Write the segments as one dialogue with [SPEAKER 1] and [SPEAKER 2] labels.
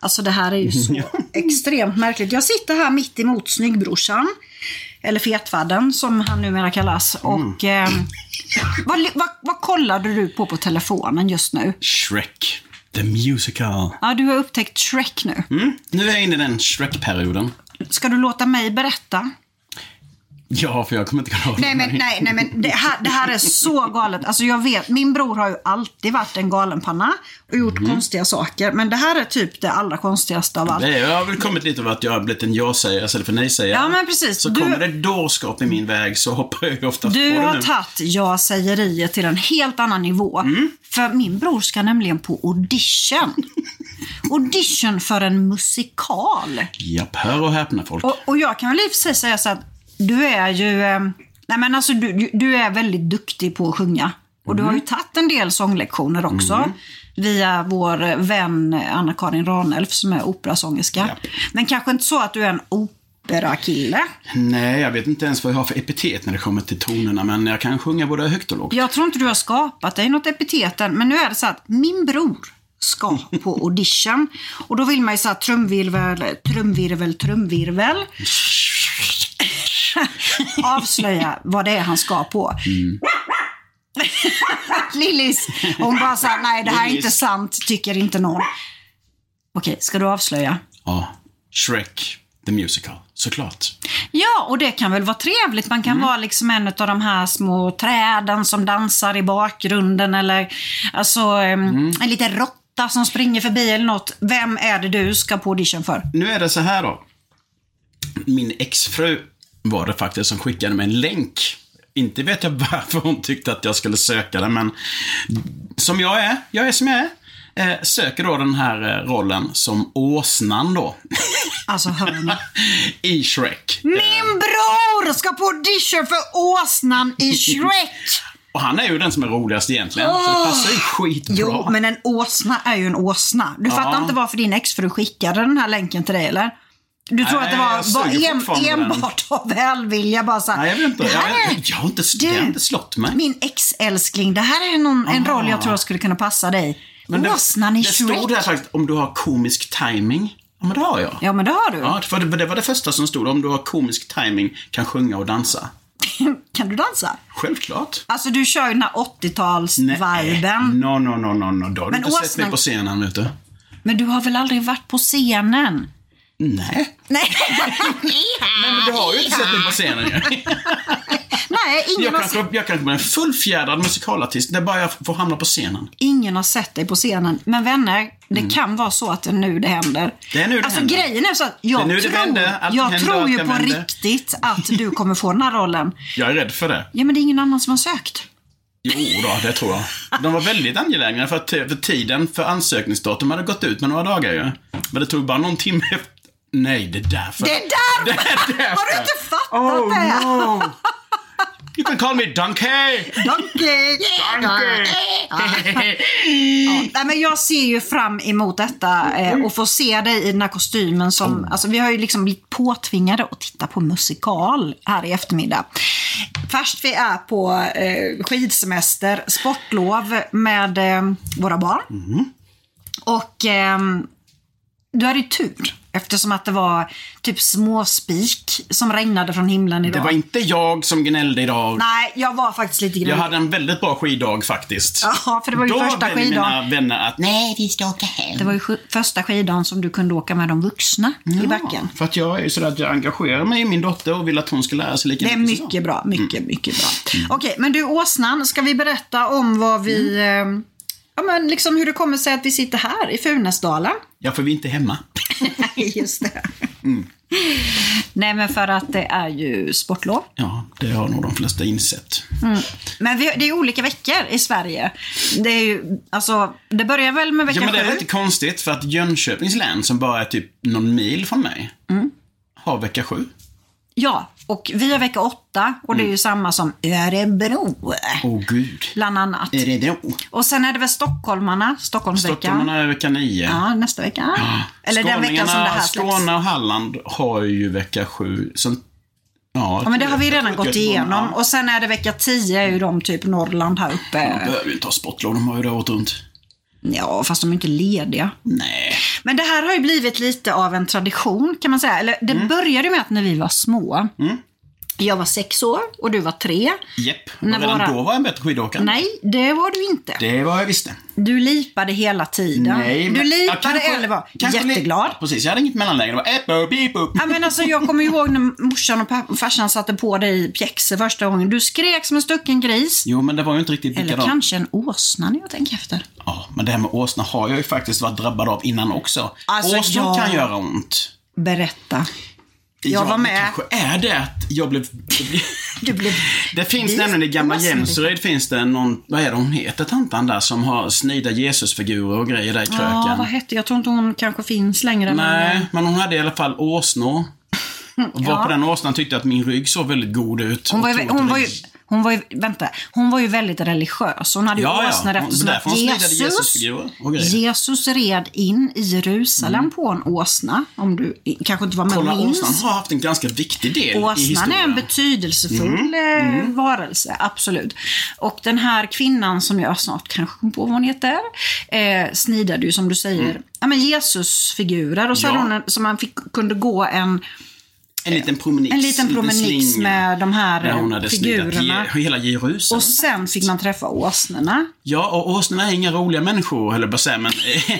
[SPEAKER 1] Alltså det här är ju så extremt märkligt. Jag sitter här mitt emot snyggbrorsan, eller fetvadden som han numera kallas. Och eh, vad, vad, vad kollade du på på telefonen just nu?
[SPEAKER 2] Shrek. The Musical.
[SPEAKER 1] Ja, du har upptäckt Shrek nu.
[SPEAKER 2] Mm, nu är jag inne i den Shrek-perioden.
[SPEAKER 1] Ska du låta mig berätta?
[SPEAKER 2] Ja, för jag kommer inte kunna hålla
[SPEAKER 1] Nej men,
[SPEAKER 2] mig.
[SPEAKER 1] nej, nej, men det, här, det här är så galet. Alltså jag vet, min bror har ju alltid varit en galenpanna och gjort konstiga saker. Men det här är typ det allra konstigaste av allt.
[SPEAKER 2] Nej, jag har väl kommit lite över att jag har blivit en ja-sägare istället för nej-sägare.
[SPEAKER 1] Ja, men precis.
[SPEAKER 2] Så
[SPEAKER 1] Du-
[SPEAKER 2] kommer det dårskap i min väg så hoppar jag ju ofta på
[SPEAKER 1] Du
[SPEAKER 2] det
[SPEAKER 1] har
[SPEAKER 2] nu.
[SPEAKER 1] tagit ja-sägeriet till en helt annan nivå.
[SPEAKER 2] Mm.
[SPEAKER 1] För min bror ska nämligen på audition. audition för en musikal.
[SPEAKER 2] Japp, hör och häpna folk.
[SPEAKER 1] Och, och jag kan väl i och för sig säga så att du är ju... Eh, nej men alltså du, du- du är väldigt duktig på att sjunga. Och du har
[SPEAKER 2] Mm.
[SPEAKER 1] ju tagit en del sånglektioner också. Via vår eh, vän Anna-Karin Ranelf som är operasångerska.
[SPEAKER 2] Ja.
[SPEAKER 1] Men kanske inte så att du är en operakille.
[SPEAKER 2] Nej, jag vet inte ens vad jag har för epitet när det kommer till tonerna, men jag kan sjunga både högt och lågt.
[SPEAKER 1] Jag tror inte du har skapat dig något epitet än, men nu är det så att min bror ska på audition. Och då vill man ju så här trumvirvel, trumvirvel, trumvirvel. Avslöja vad det är han ska på. Lillis, hon bara såhär, nej det här är inte
[SPEAKER 2] Lillis.
[SPEAKER 1] sant, tycker inte någon. Okej, ska du avslöja?
[SPEAKER 2] Ja, Shrek, The Musical, såklart.
[SPEAKER 1] Ja, och det kan väl vara trevligt. Man kan
[SPEAKER 2] Mm.
[SPEAKER 1] vara liksom en av de här små träden som dansar i bakgrunden eller alltså, em,
[SPEAKER 2] Mm.
[SPEAKER 1] en liten råtta som springer förbi eller något. Vem är det du ska på audition för?
[SPEAKER 2] Nu är det så här då. Min exfru var det faktiskt som skickade mig en länk. Inte vet jag varför hon tyckte att jag skulle söka den, men som jag är, jag är som jag är. Eh, söker då den här eh, rollen som åsnan då,
[SPEAKER 1] Alltså, hör ni?
[SPEAKER 2] i Shrek.
[SPEAKER 1] Min bror ska på audition för åsnan i Shrek!
[SPEAKER 2] Och han är ju den som är roligast egentligen, så det passar ju skitbra.
[SPEAKER 1] Jo, men en åsna är ju en åsna. Du fattar inte varför din exfru skickade den här länken till dig, eller? Du tror
[SPEAKER 2] Nej,
[SPEAKER 1] att det
[SPEAKER 2] jag
[SPEAKER 1] var, var
[SPEAKER 2] suger
[SPEAKER 1] en,
[SPEAKER 2] fortfarande på den.
[SPEAKER 1] enbart av välvilja? Bara så här,
[SPEAKER 2] Nej, jag vet inte.
[SPEAKER 1] "Det
[SPEAKER 2] Jag,
[SPEAKER 1] här är-
[SPEAKER 2] jag, jag, har, inte, jag har inte slått mig.
[SPEAKER 1] Min ex-älskling, det här är någon, en
[SPEAKER 2] Ah.
[SPEAKER 1] roll jag tror jag skulle kunna passa dig.
[SPEAKER 2] Men det,
[SPEAKER 1] Åsnan i
[SPEAKER 2] det stod där
[SPEAKER 1] Shrek.
[SPEAKER 2] faktiskt om du har komisk timing. Ja, men det har jag.
[SPEAKER 1] Ja, men det har du.
[SPEAKER 2] Ja, för det, det var det första som stod. Om du har komisk timing kan sjunga och dansa.
[SPEAKER 1] Kan du dansa?
[SPEAKER 2] Självklart.
[SPEAKER 1] Alltså, du kör ju den här 80-tals-viben.
[SPEAKER 2] No, no, no, no, no. Då har du
[SPEAKER 1] Men
[SPEAKER 2] inte sett
[SPEAKER 1] åsnan-
[SPEAKER 2] mig på scenen, vet du.
[SPEAKER 1] Men du har väl aldrig varit på scenen?
[SPEAKER 2] Nej.
[SPEAKER 1] Nej,
[SPEAKER 2] Nej, men du har ju inte sett mig på scenen ju.
[SPEAKER 1] Nej ingen,
[SPEAKER 2] Jag
[SPEAKER 1] har sett,
[SPEAKER 2] kanske, jag kanske blir en fullfjädrad musikalartist. Det är bara jag får hamna på scenen.
[SPEAKER 1] ingen har sett dig på scenen. Men vänner, det kan vara så att det är nu det händer.
[SPEAKER 2] Mm. Det är nu det
[SPEAKER 1] alltså
[SPEAKER 2] händer.
[SPEAKER 1] grejen är så att jag
[SPEAKER 2] Det är nu det
[SPEAKER 1] tror,
[SPEAKER 2] vänder. Allt
[SPEAKER 1] jag
[SPEAKER 2] händer,
[SPEAKER 1] tror
[SPEAKER 2] allt
[SPEAKER 1] ju
[SPEAKER 2] kan
[SPEAKER 1] på
[SPEAKER 2] vända.
[SPEAKER 1] riktigt att du kommer få den här rollen.
[SPEAKER 2] Jag är rädd för det.
[SPEAKER 1] Ja, men det är ingen annan som har sökt.
[SPEAKER 2] Jo då, det tror jag. De var väldigt angelägna för att t- för tiden för ansökningsdatum hade gått ut med några dagar ju. Men det tog bara någon timme efter. Nej, det är därför.
[SPEAKER 1] Det är därför!
[SPEAKER 2] Det är därför.
[SPEAKER 1] Har du inte fattat
[SPEAKER 2] oh,
[SPEAKER 1] det?
[SPEAKER 2] No. You can call me Donkey!
[SPEAKER 1] Donkey! Nej, men jag ser ju fram emot detta
[SPEAKER 2] Mm.
[SPEAKER 1] eh, och få se dig i den här kostymen som, alltså vi har ju liksom blivit påtvingade att titta på musikal här i eftermiddag. Fast vi är på eh, skidsemester, sportlov med eh, våra barn.
[SPEAKER 2] Mm.
[SPEAKER 1] Och ehm, du hade ju tur eftersom att det var typ småspik som regnade från himlen idag.
[SPEAKER 2] Det var inte jag som gnällde idag.
[SPEAKER 1] Nej, jag var faktiskt lite
[SPEAKER 2] Jag
[SPEAKER 1] grym.
[SPEAKER 2] hade en väldigt bra skiddag faktiskt.
[SPEAKER 1] Ja, för det var ju
[SPEAKER 2] Då
[SPEAKER 1] första
[SPEAKER 2] väljer
[SPEAKER 1] skiddagen.
[SPEAKER 2] mina vänner att nej, vi ska åka
[SPEAKER 1] Det
[SPEAKER 2] hem.
[SPEAKER 1] var ju sj- första skiddagen som du kunde åka med de vuxna i backen.
[SPEAKER 2] För att jag är ju sådär att jag engagerar mig i min dotter och vill att hon ska lära sig lika
[SPEAKER 1] Det är
[SPEAKER 2] som jag.
[SPEAKER 1] mycket bra, mycket,
[SPEAKER 2] Mm.
[SPEAKER 1] mycket bra. Okej, men du Åsnan, ska vi berätta om vad vi...
[SPEAKER 2] Mm.
[SPEAKER 1] Eh, ja, men liksom hur det kommer sig att vi sitter här i Funäsdalen?
[SPEAKER 2] Ja, för vi är inte hemma.
[SPEAKER 1] Just det. Mm. Nej, men för att det är ju sportlov.
[SPEAKER 2] Ja, det har nog de flesta insett.
[SPEAKER 1] Men vi, det är olika veckor i Sverige. Det är ju, alltså, det börjar väl med vecka
[SPEAKER 2] Ja, men det är
[SPEAKER 1] sju?
[SPEAKER 2] lite konstigt för att Jönköpings län, som bara är typ någon mil från mig,
[SPEAKER 1] Mm.
[SPEAKER 2] har vecka sju.
[SPEAKER 1] Ja, och vi har vecka åtta och det är
[SPEAKER 2] Mm.
[SPEAKER 1] ju samma som Örebro.
[SPEAKER 2] Åh oh, gud.
[SPEAKER 1] Bland annat.
[SPEAKER 2] Är det då?
[SPEAKER 1] Och sen är det väl stockholmarna, Stockholmsveckan.
[SPEAKER 2] Stockholmarna är vecka nio.
[SPEAKER 1] Ja, nästa vecka. Eller den veckan som det här släpps.
[SPEAKER 2] Skåne och Halland har ju vecka sju. Sen, ja,
[SPEAKER 1] Ja, men det har vi redan gått
[SPEAKER 2] Göteborg,
[SPEAKER 1] igenom.
[SPEAKER 2] Ja,
[SPEAKER 1] Och sen är det vecka 10, är ju de typ Norrland här
[SPEAKER 2] de
[SPEAKER 1] uppe.
[SPEAKER 2] behöver ju inte ha sportlov, de har ju det året runt.
[SPEAKER 1] Ja, fast de är inte lediga.
[SPEAKER 2] Nej.
[SPEAKER 1] Men det här har ju blivit lite av en tradition kan man säga. Eller det
[SPEAKER 2] Mm.
[SPEAKER 1] började ju med att när vi var små. Jag var sex år och du var tre.
[SPEAKER 2] Jepp. Och
[SPEAKER 1] När
[SPEAKER 2] Redan
[SPEAKER 1] våra-
[SPEAKER 2] då var jag en bättre skidåkare.
[SPEAKER 1] Nej, det var du inte.
[SPEAKER 2] Det var jag visste.
[SPEAKER 1] Du lipade hela tiden. du
[SPEAKER 2] men-
[SPEAKER 1] lipade
[SPEAKER 2] Ja, kanske-
[SPEAKER 1] eller var
[SPEAKER 2] kanske li-
[SPEAKER 1] jätteglad.
[SPEAKER 2] Precis, jag hade inget mellanläge. Det var äpp, upp, upp, upp.
[SPEAKER 1] Ja, men alltså, jag kommer ju ihåg när morsan och pa- farsan satte på dig pjäxor första gången. Du skrek som en stucken gris.
[SPEAKER 2] Jo, men det var ju inte riktigt
[SPEAKER 1] Eller
[SPEAKER 2] likadant.
[SPEAKER 1] kanske en åsna när jag tänker efter.
[SPEAKER 2] Ja, men det här med åsna har jag ju faktiskt varit drabbad av innan också.
[SPEAKER 1] Alltså,
[SPEAKER 2] Åsnor
[SPEAKER 1] jag-
[SPEAKER 2] kan göra ont.
[SPEAKER 1] Berätta. Jag var
[SPEAKER 2] det
[SPEAKER 1] med.
[SPEAKER 2] kanske är det att jag blev...
[SPEAKER 1] Du blev...
[SPEAKER 2] Det finns
[SPEAKER 1] Vi-
[SPEAKER 2] nämligen i gamla
[SPEAKER 1] Åsna, det-
[SPEAKER 2] Jämsryd finns det någon, vad är det hon heter, tantan där som har snida Jesusfigurer och grejer där i kröken.
[SPEAKER 1] Ja, vad hette Jag tror inte hon kanske finns längre. eh,
[SPEAKER 2] Nej, men hon hade i alla fall åsnor. Och var på den åsnan tyckte jag att min rygg såg väldigt god ut.
[SPEAKER 1] Hon var,
[SPEAKER 2] Och
[SPEAKER 1] ju,
[SPEAKER 2] tog
[SPEAKER 1] hon,
[SPEAKER 2] till
[SPEAKER 1] var ju,
[SPEAKER 2] det.
[SPEAKER 1] hon var ju, vänta, hon var ju väldigt religiös. Hon hade ju
[SPEAKER 2] Ja, ja.
[SPEAKER 1] åsnor
[SPEAKER 2] Hon-
[SPEAKER 1] eftersom
[SPEAKER 2] därför
[SPEAKER 1] att
[SPEAKER 2] hon snidade
[SPEAKER 1] Jesus,
[SPEAKER 2] Jesusfigurer och grejer. Mm.
[SPEAKER 1] Jesus red in i Jerusalem på en åsna. Om du i- kanske inte var med och
[SPEAKER 2] Kolla,
[SPEAKER 1] minns.
[SPEAKER 2] åsnan har haft en ganska viktig del i
[SPEAKER 1] Åsnan är
[SPEAKER 2] historien. Mm.
[SPEAKER 1] en betydelsefull eh, varelse, absolut. Och den här kvinnan som jag snart kanske kommer på vad hon heter, eh, snidade ju som du säger, ja men Jesusfigurer och så
[SPEAKER 2] Mm. Ja.
[SPEAKER 1] hade hon en, som man fick, kunde gå en,
[SPEAKER 2] en liten promenix.
[SPEAKER 1] en liten promenix
[SPEAKER 2] slinga.
[SPEAKER 1] med de här
[SPEAKER 2] När hon
[SPEAKER 1] eh,
[SPEAKER 2] hade snidat
[SPEAKER 1] figurerna.
[SPEAKER 2] Je- hela Jerusalem.
[SPEAKER 1] Och sen fick man träffa åsnorna.
[SPEAKER 2] Ja, och åsnorna är inga roliga människor, höll jag på att säga, men... eh,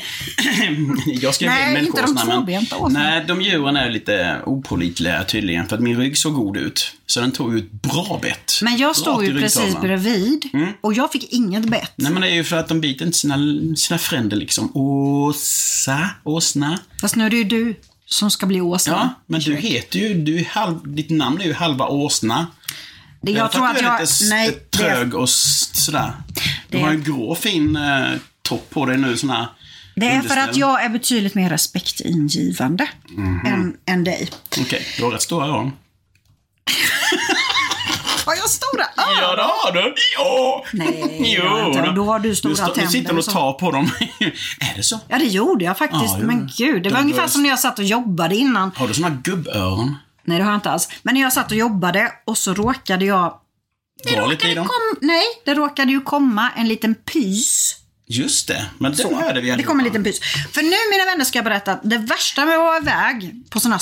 [SPEAKER 2] jag skrev
[SPEAKER 1] Nej,
[SPEAKER 2] ner
[SPEAKER 1] inte
[SPEAKER 2] människoåsnan,
[SPEAKER 1] de
[SPEAKER 2] men-
[SPEAKER 1] tvåbenta åsnorna.
[SPEAKER 2] Nej, de djuren är lite opålitliga tydligen, för att min rygg såg god ut. Så den tog ju ett bra bett.
[SPEAKER 1] Men
[SPEAKER 2] Bra
[SPEAKER 1] jag stod
[SPEAKER 2] till
[SPEAKER 1] ju precis
[SPEAKER 2] ryggtavlan.
[SPEAKER 1] bredvid och jag fick inget bett.
[SPEAKER 2] Mm. Nej, men det är ju för att de biter inte sina, sina fränder liksom. Åsa, åsna.
[SPEAKER 1] Fast nu är det ju du som ska bli åsna.
[SPEAKER 2] Ja, men du heter ju, du är halv, ditt namn är ju halva åsna.
[SPEAKER 1] det, jag
[SPEAKER 2] Eller
[SPEAKER 1] tror
[SPEAKER 2] för
[SPEAKER 1] att
[SPEAKER 2] du är
[SPEAKER 1] jag...
[SPEAKER 2] lite s-
[SPEAKER 1] Nej, det,
[SPEAKER 2] trög och s- sådär. Du
[SPEAKER 1] Det-
[SPEAKER 2] har ju en grå fin eh, topp på dig nu, sån här
[SPEAKER 1] det är för att
[SPEAKER 2] underställ. Mhm.
[SPEAKER 1] jag är betydligt mer respektingivande än, än dig.
[SPEAKER 2] Okej, du har rätt stora öron.
[SPEAKER 1] Har jag stora öron?
[SPEAKER 2] Ja, det har du. Ja!
[SPEAKER 1] Nej, det har jag inte. Och då har du stora
[SPEAKER 2] sta-
[SPEAKER 1] tänder
[SPEAKER 2] Du sitter och
[SPEAKER 1] och så.
[SPEAKER 2] tar på dem. är det så?
[SPEAKER 1] Ja, det gjorde jag faktiskt.
[SPEAKER 2] Ja, jo.
[SPEAKER 1] men gud, det
[SPEAKER 2] De
[SPEAKER 1] var ungefär
[SPEAKER 2] började-
[SPEAKER 1] som när jag satt och jobbade innan.
[SPEAKER 2] Har du såna gubböron?
[SPEAKER 1] Nej, det har jag inte alls. Men när jag satt och jobbade och så råkade jag...
[SPEAKER 2] Dra lite i dem.
[SPEAKER 1] Kom, nej, det råkade ju komma en liten pys
[SPEAKER 2] Just det, men den hörde vi
[SPEAKER 1] Det
[SPEAKER 2] allihopa.
[SPEAKER 1] kom en liten pys. För nu mina vänner ska jag berätta att det värsta med att vara iväg på sån här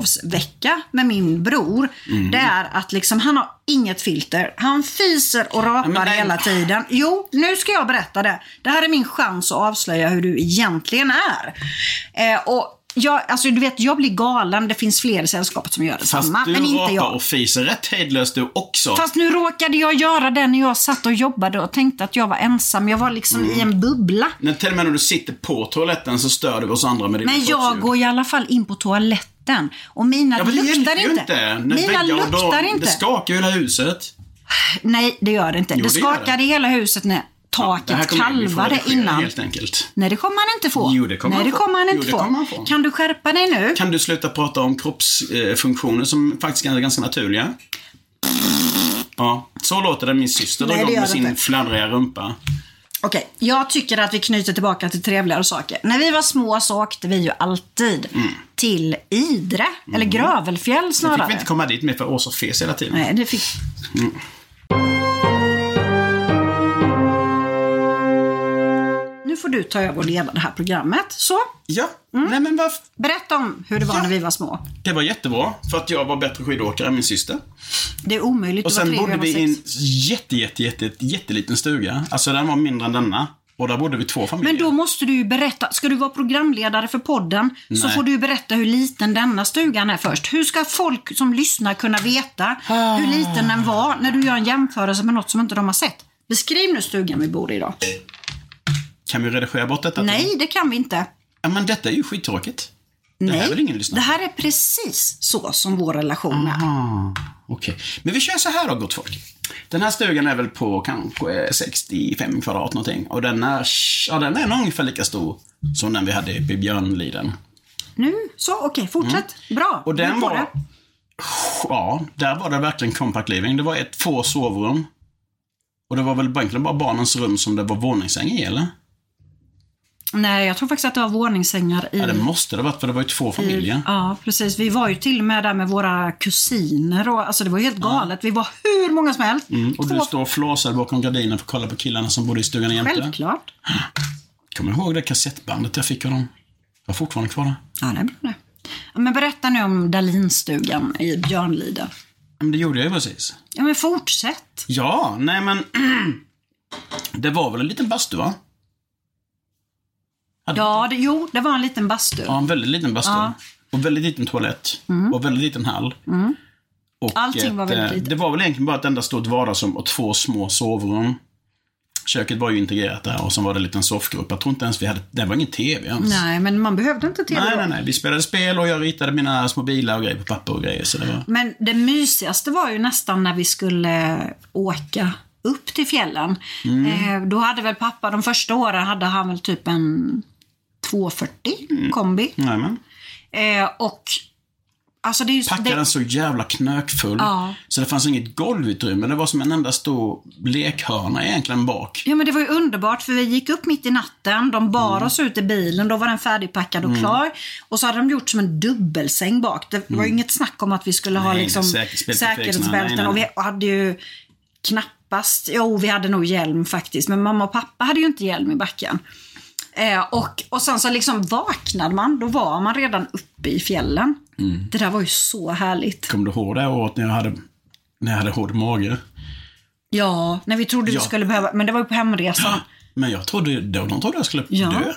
[SPEAKER 1] sportlovsvecka med min bror,
[SPEAKER 2] Mm.
[SPEAKER 1] det är att liksom han har inget filter. Han fiser och rapar
[SPEAKER 2] men nej.
[SPEAKER 1] hela tiden. Jo, nu ska jag berätta det. Det här är min chans att avslöja hur du egentligen är. Eh, och jag, alltså, du vet, jag blir galen. Det finns fler i sällskapet som gör
[SPEAKER 2] Fast
[SPEAKER 1] detsamma,
[SPEAKER 2] du
[SPEAKER 1] men inte
[SPEAKER 2] rapar
[SPEAKER 1] jag.
[SPEAKER 2] och fiser rätt hejdlöst du också.
[SPEAKER 1] Fast nu råkade jag göra det när jag satt och jobbade och tänkte att jag var ensam. Jag var liksom
[SPEAKER 2] Mm.
[SPEAKER 1] i en bubbla.
[SPEAKER 2] När, till och med när du sitter på toaletten så stör du oss andra med dina
[SPEAKER 1] Men jag
[SPEAKER 2] kroppsljud.
[SPEAKER 1] går i alla fall in på toaletten och mina
[SPEAKER 2] Ja, men det
[SPEAKER 1] luktar
[SPEAKER 2] hjälper ju
[SPEAKER 1] inte.
[SPEAKER 2] inte. När
[SPEAKER 1] Mina
[SPEAKER 2] väggar och
[SPEAKER 1] luktar
[SPEAKER 2] dörr- Det
[SPEAKER 1] inte.
[SPEAKER 2] skakar ju hela huset.
[SPEAKER 1] Nej, det gör det inte.
[SPEAKER 2] Jo,
[SPEAKER 1] det
[SPEAKER 2] det gör
[SPEAKER 1] skakade
[SPEAKER 2] det.
[SPEAKER 1] i hela huset när
[SPEAKER 2] Det här
[SPEAKER 1] taket
[SPEAKER 2] kommer- vi får
[SPEAKER 1] kalvade
[SPEAKER 2] redigera,
[SPEAKER 1] innan.
[SPEAKER 2] Helt enkelt.
[SPEAKER 1] Nej, det kommer han inte få.
[SPEAKER 2] Jo, det kommer
[SPEAKER 1] Nej,
[SPEAKER 2] han
[SPEAKER 1] det
[SPEAKER 2] få.
[SPEAKER 1] kommer han
[SPEAKER 2] Jo,
[SPEAKER 1] inte
[SPEAKER 2] det kommer han få.
[SPEAKER 1] Kan du skärpa dig nu?
[SPEAKER 2] Kan du sluta prata om kroppsfunktioner som faktiskt är ganska naturliga? Ja, så låter det min syster dra
[SPEAKER 1] Nej, det
[SPEAKER 2] igång
[SPEAKER 1] gör
[SPEAKER 2] med
[SPEAKER 1] det
[SPEAKER 2] sin
[SPEAKER 1] inte.
[SPEAKER 2] fladdriga rumpa.
[SPEAKER 1] Okej, jag tycker att vi knyter tillbaka till trevligare saker. När vi var små så åkte vi ju alltid till Idre, eller Grövelfjäll
[SPEAKER 2] Sen
[SPEAKER 1] snarare.
[SPEAKER 2] Mm. fick vi inte komma dit med för Åsa fes hela tiden.
[SPEAKER 1] Nej, det fick
[SPEAKER 2] Mm.
[SPEAKER 1] Nu får du ta över och leda det här programmet. Så,
[SPEAKER 2] Ja,
[SPEAKER 1] Mm.
[SPEAKER 2] nej men varför?
[SPEAKER 1] berätta om hur det var
[SPEAKER 2] Ja.
[SPEAKER 1] när vi var små.
[SPEAKER 2] Det var jättebra, för att jag var bättre skidåkare än min syster.
[SPEAKER 1] Det är omöjligt
[SPEAKER 2] Och
[SPEAKER 1] att vara
[SPEAKER 2] sen
[SPEAKER 1] tre
[SPEAKER 2] bodde
[SPEAKER 1] över
[SPEAKER 2] vi i en
[SPEAKER 1] sex.
[SPEAKER 2] jätte, jätte, jätte, jätteliten stuga. Alltså den var mindre än denna. Och där bodde vi två familjer.
[SPEAKER 1] Men då måste du ju berätta. Ska du vara programledare för podden så
[SPEAKER 2] Nej.
[SPEAKER 1] får du ju berätta hur liten denna stugan är först. Hur ska folk som lyssnar kunna veta
[SPEAKER 2] Ah.
[SPEAKER 1] hur liten den var när du gör en jämförelse med något som inte de har sett? Beskriv nu stugan vi bor i idag.
[SPEAKER 2] Kan vi redigera bort detta?
[SPEAKER 1] Nej, det kan vi inte.
[SPEAKER 2] Ja, men detta är ju skittråkigt. Det här vill ingen lyssna
[SPEAKER 1] det
[SPEAKER 2] på.
[SPEAKER 1] här är precis så som vår relation är.
[SPEAKER 2] Ah, Okej. Men vi kör så här då, gott folk. Den här stugan är väl på kanske 65 kvadrat någonting. Och den är, ja, den är nog ungefär lika stor som den vi hade uppe i Björnliden.
[SPEAKER 1] Nu, så okej, fortsätt. Bra.
[SPEAKER 2] Mm. Och
[SPEAKER 1] Nu
[SPEAKER 2] den
[SPEAKER 1] får
[SPEAKER 2] var...
[SPEAKER 1] det.
[SPEAKER 2] Ja, där var det verkligen compact living. Det var ett få sovrum. Och det var väl egentligen bara barnens rum som det var våningssäng i, eller?
[SPEAKER 1] Nej, jag tror faktiskt att det var våningssängar i...
[SPEAKER 2] Ja, det måste det ha varit, för det var ju två familjer.
[SPEAKER 1] Mm. Ja, precis. Vi var ju till och med där med våra kusiner och alltså det var ju helt galet. Vi var hur många som helst.
[SPEAKER 2] Mm, och du
[SPEAKER 1] Två-
[SPEAKER 2] står och flåsar bakom gardinen för att kolla på killarna som bodde i stugan jämte.
[SPEAKER 1] Självklart.
[SPEAKER 2] Kommer du ihåg det kassettbandet jag fick av dem? Jag har fortfarande kvar det.
[SPEAKER 1] Ja, det är bra det. Ja, Men berätta nu om Dahlinstugan i Björnliden.
[SPEAKER 2] Ja, Men det gjorde jag ju precis.
[SPEAKER 1] Ja, men fortsätt.
[SPEAKER 2] Ja, nej men... det var väl en liten bastu, va?
[SPEAKER 1] Ja, det, jo, det var en liten bastu.
[SPEAKER 2] Ja, en väldigt liten bastu. Och väldigt liten toalett. Och väldigt liten hall. Och
[SPEAKER 1] Mm. Allting var väldigt
[SPEAKER 2] eh,
[SPEAKER 1] litet.
[SPEAKER 2] Det var väl egentligen bara ett enda stort vardagsrum och två små sovrum. Köket var ju integrerat där och sen var det en liten soffgrupp. Jag tror inte ens vi hade... Det var ingen TV ens.
[SPEAKER 1] Nej, men man behövde inte till
[SPEAKER 2] Nej,
[SPEAKER 1] det.
[SPEAKER 2] nej, nej. Vi spelade spel och jag ritade mina små bilar och grejer på papper och grejer. Så det var...
[SPEAKER 1] Men det mysigaste var ju nästan när vi skulle åka upp till fjällen. Eh, då hade väl pappa, de första åren hade han väl typ en 240 kombi.
[SPEAKER 2] Nej, men.
[SPEAKER 1] Eh, och alltså det är ju...
[SPEAKER 2] Packade den
[SPEAKER 1] det,
[SPEAKER 2] så jävla knökfull.
[SPEAKER 1] Ja.
[SPEAKER 2] Så det fanns inget golvutrymme. Det var som en enda stor lekhörna egentligen bak.
[SPEAKER 1] ja men det var ju underbart för vi gick upp mitt i natten, de bar
[SPEAKER 2] Mm.
[SPEAKER 1] oss ut i bilen, då var den färdigpackad och klar. Och så hade de gjort som en dubbelsäng bak. Det var ju inget snack om att vi skulle ha
[SPEAKER 2] Mm. Nej,
[SPEAKER 1] liksom
[SPEAKER 2] säkerhetsbälte för extra,
[SPEAKER 1] säkerhetsbälten.
[SPEAKER 2] nej,
[SPEAKER 1] Och vi
[SPEAKER 2] nej.
[SPEAKER 1] hade ju knappast, jo vi hade nog hjälm faktiskt, men mamma och pappa hade ju inte hjälm i backen. Eh, och, och sen så liksom vaknade man, då var man redan uppe i fjällen.
[SPEAKER 2] Mm.
[SPEAKER 1] Det där var ju så härligt.
[SPEAKER 2] Kommer du ihåg det året när jag hade, när jag hade hård mage?
[SPEAKER 1] Ja, när vi trodde
[SPEAKER 2] Ja.
[SPEAKER 1] vi skulle behöva, men det var ju på hemresan.
[SPEAKER 2] Men jag trodde, då, de trodde jag skulle
[SPEAKER 1] Ja.
[SPEAKER 2] dö.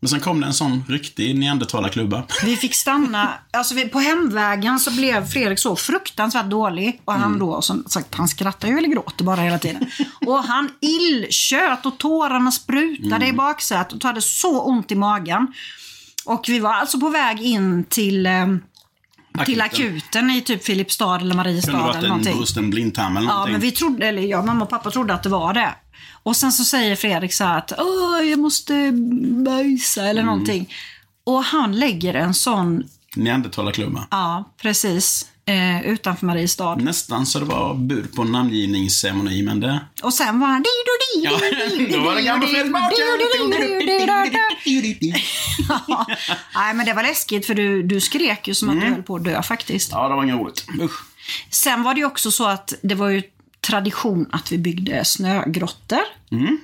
[SPEAKER 2] Men sen kom det en sån riktig neandertalarklubba.
[SPEAKER 1] Vi fick stanna, alltså vi, på hemvägen så blev Fredrik så fruktansvärt dålig och han
[SPEAKER 2] Mm.
[SPEAKER 1] då som sagt, han skrattar ju eller gråter bara hela tiden. och han illtjöt och tårarna sprutade
[SPEAKER 2] Mm.
[SPEAKER 1] i baksätet och hade så ont i magen. Och vi var alltså på väg in till, eh, till akuten i typ Filipstad eller
[SPEAKER 2] Det kunde
[SPEAKER 1] Mariestad
[SPEAKER 2] varit
[SPEAKER 1] eller
[SPEAKER 2] en
[SPEAKER 1] någonting.
[SPEAKER 2] brusten blindtarm eller
[SPEAKER 1] Ja,
[SPEAKER 2] någonting.
[SPEAKER 1] men vi trodde, eller jag, mamma och pappa trodde att det var det. Och sen så säger Fredrik så här att Åh, jag måste bajsa
[SPEAKER 2] Mm.
[SPEAKER 1] eller någonting. Och han lägger en sån,
[SPEAKER 2] Neandertalarklubba.
[SPEAKER 1] ja precis, eh, utanför Mariestad.
[SPEAKER 2] Nästan så det var bud på en namngivningsceremoni, men det...
[SPEAKER 1] Och sen var han
[SPEAKER 2] Ja, då var det gamla Fredrik Maken.
[SPEAKER 1] Ja. Nej men det var läskigt för du, du skrek ju som att du höll på att dö faktiskt.
[SPEAKER 2] Ja, det var inget roligt. Usch.
[SPEAKER 1] Sen var det ju också så att det var ju tradition att vi byggde snögrottor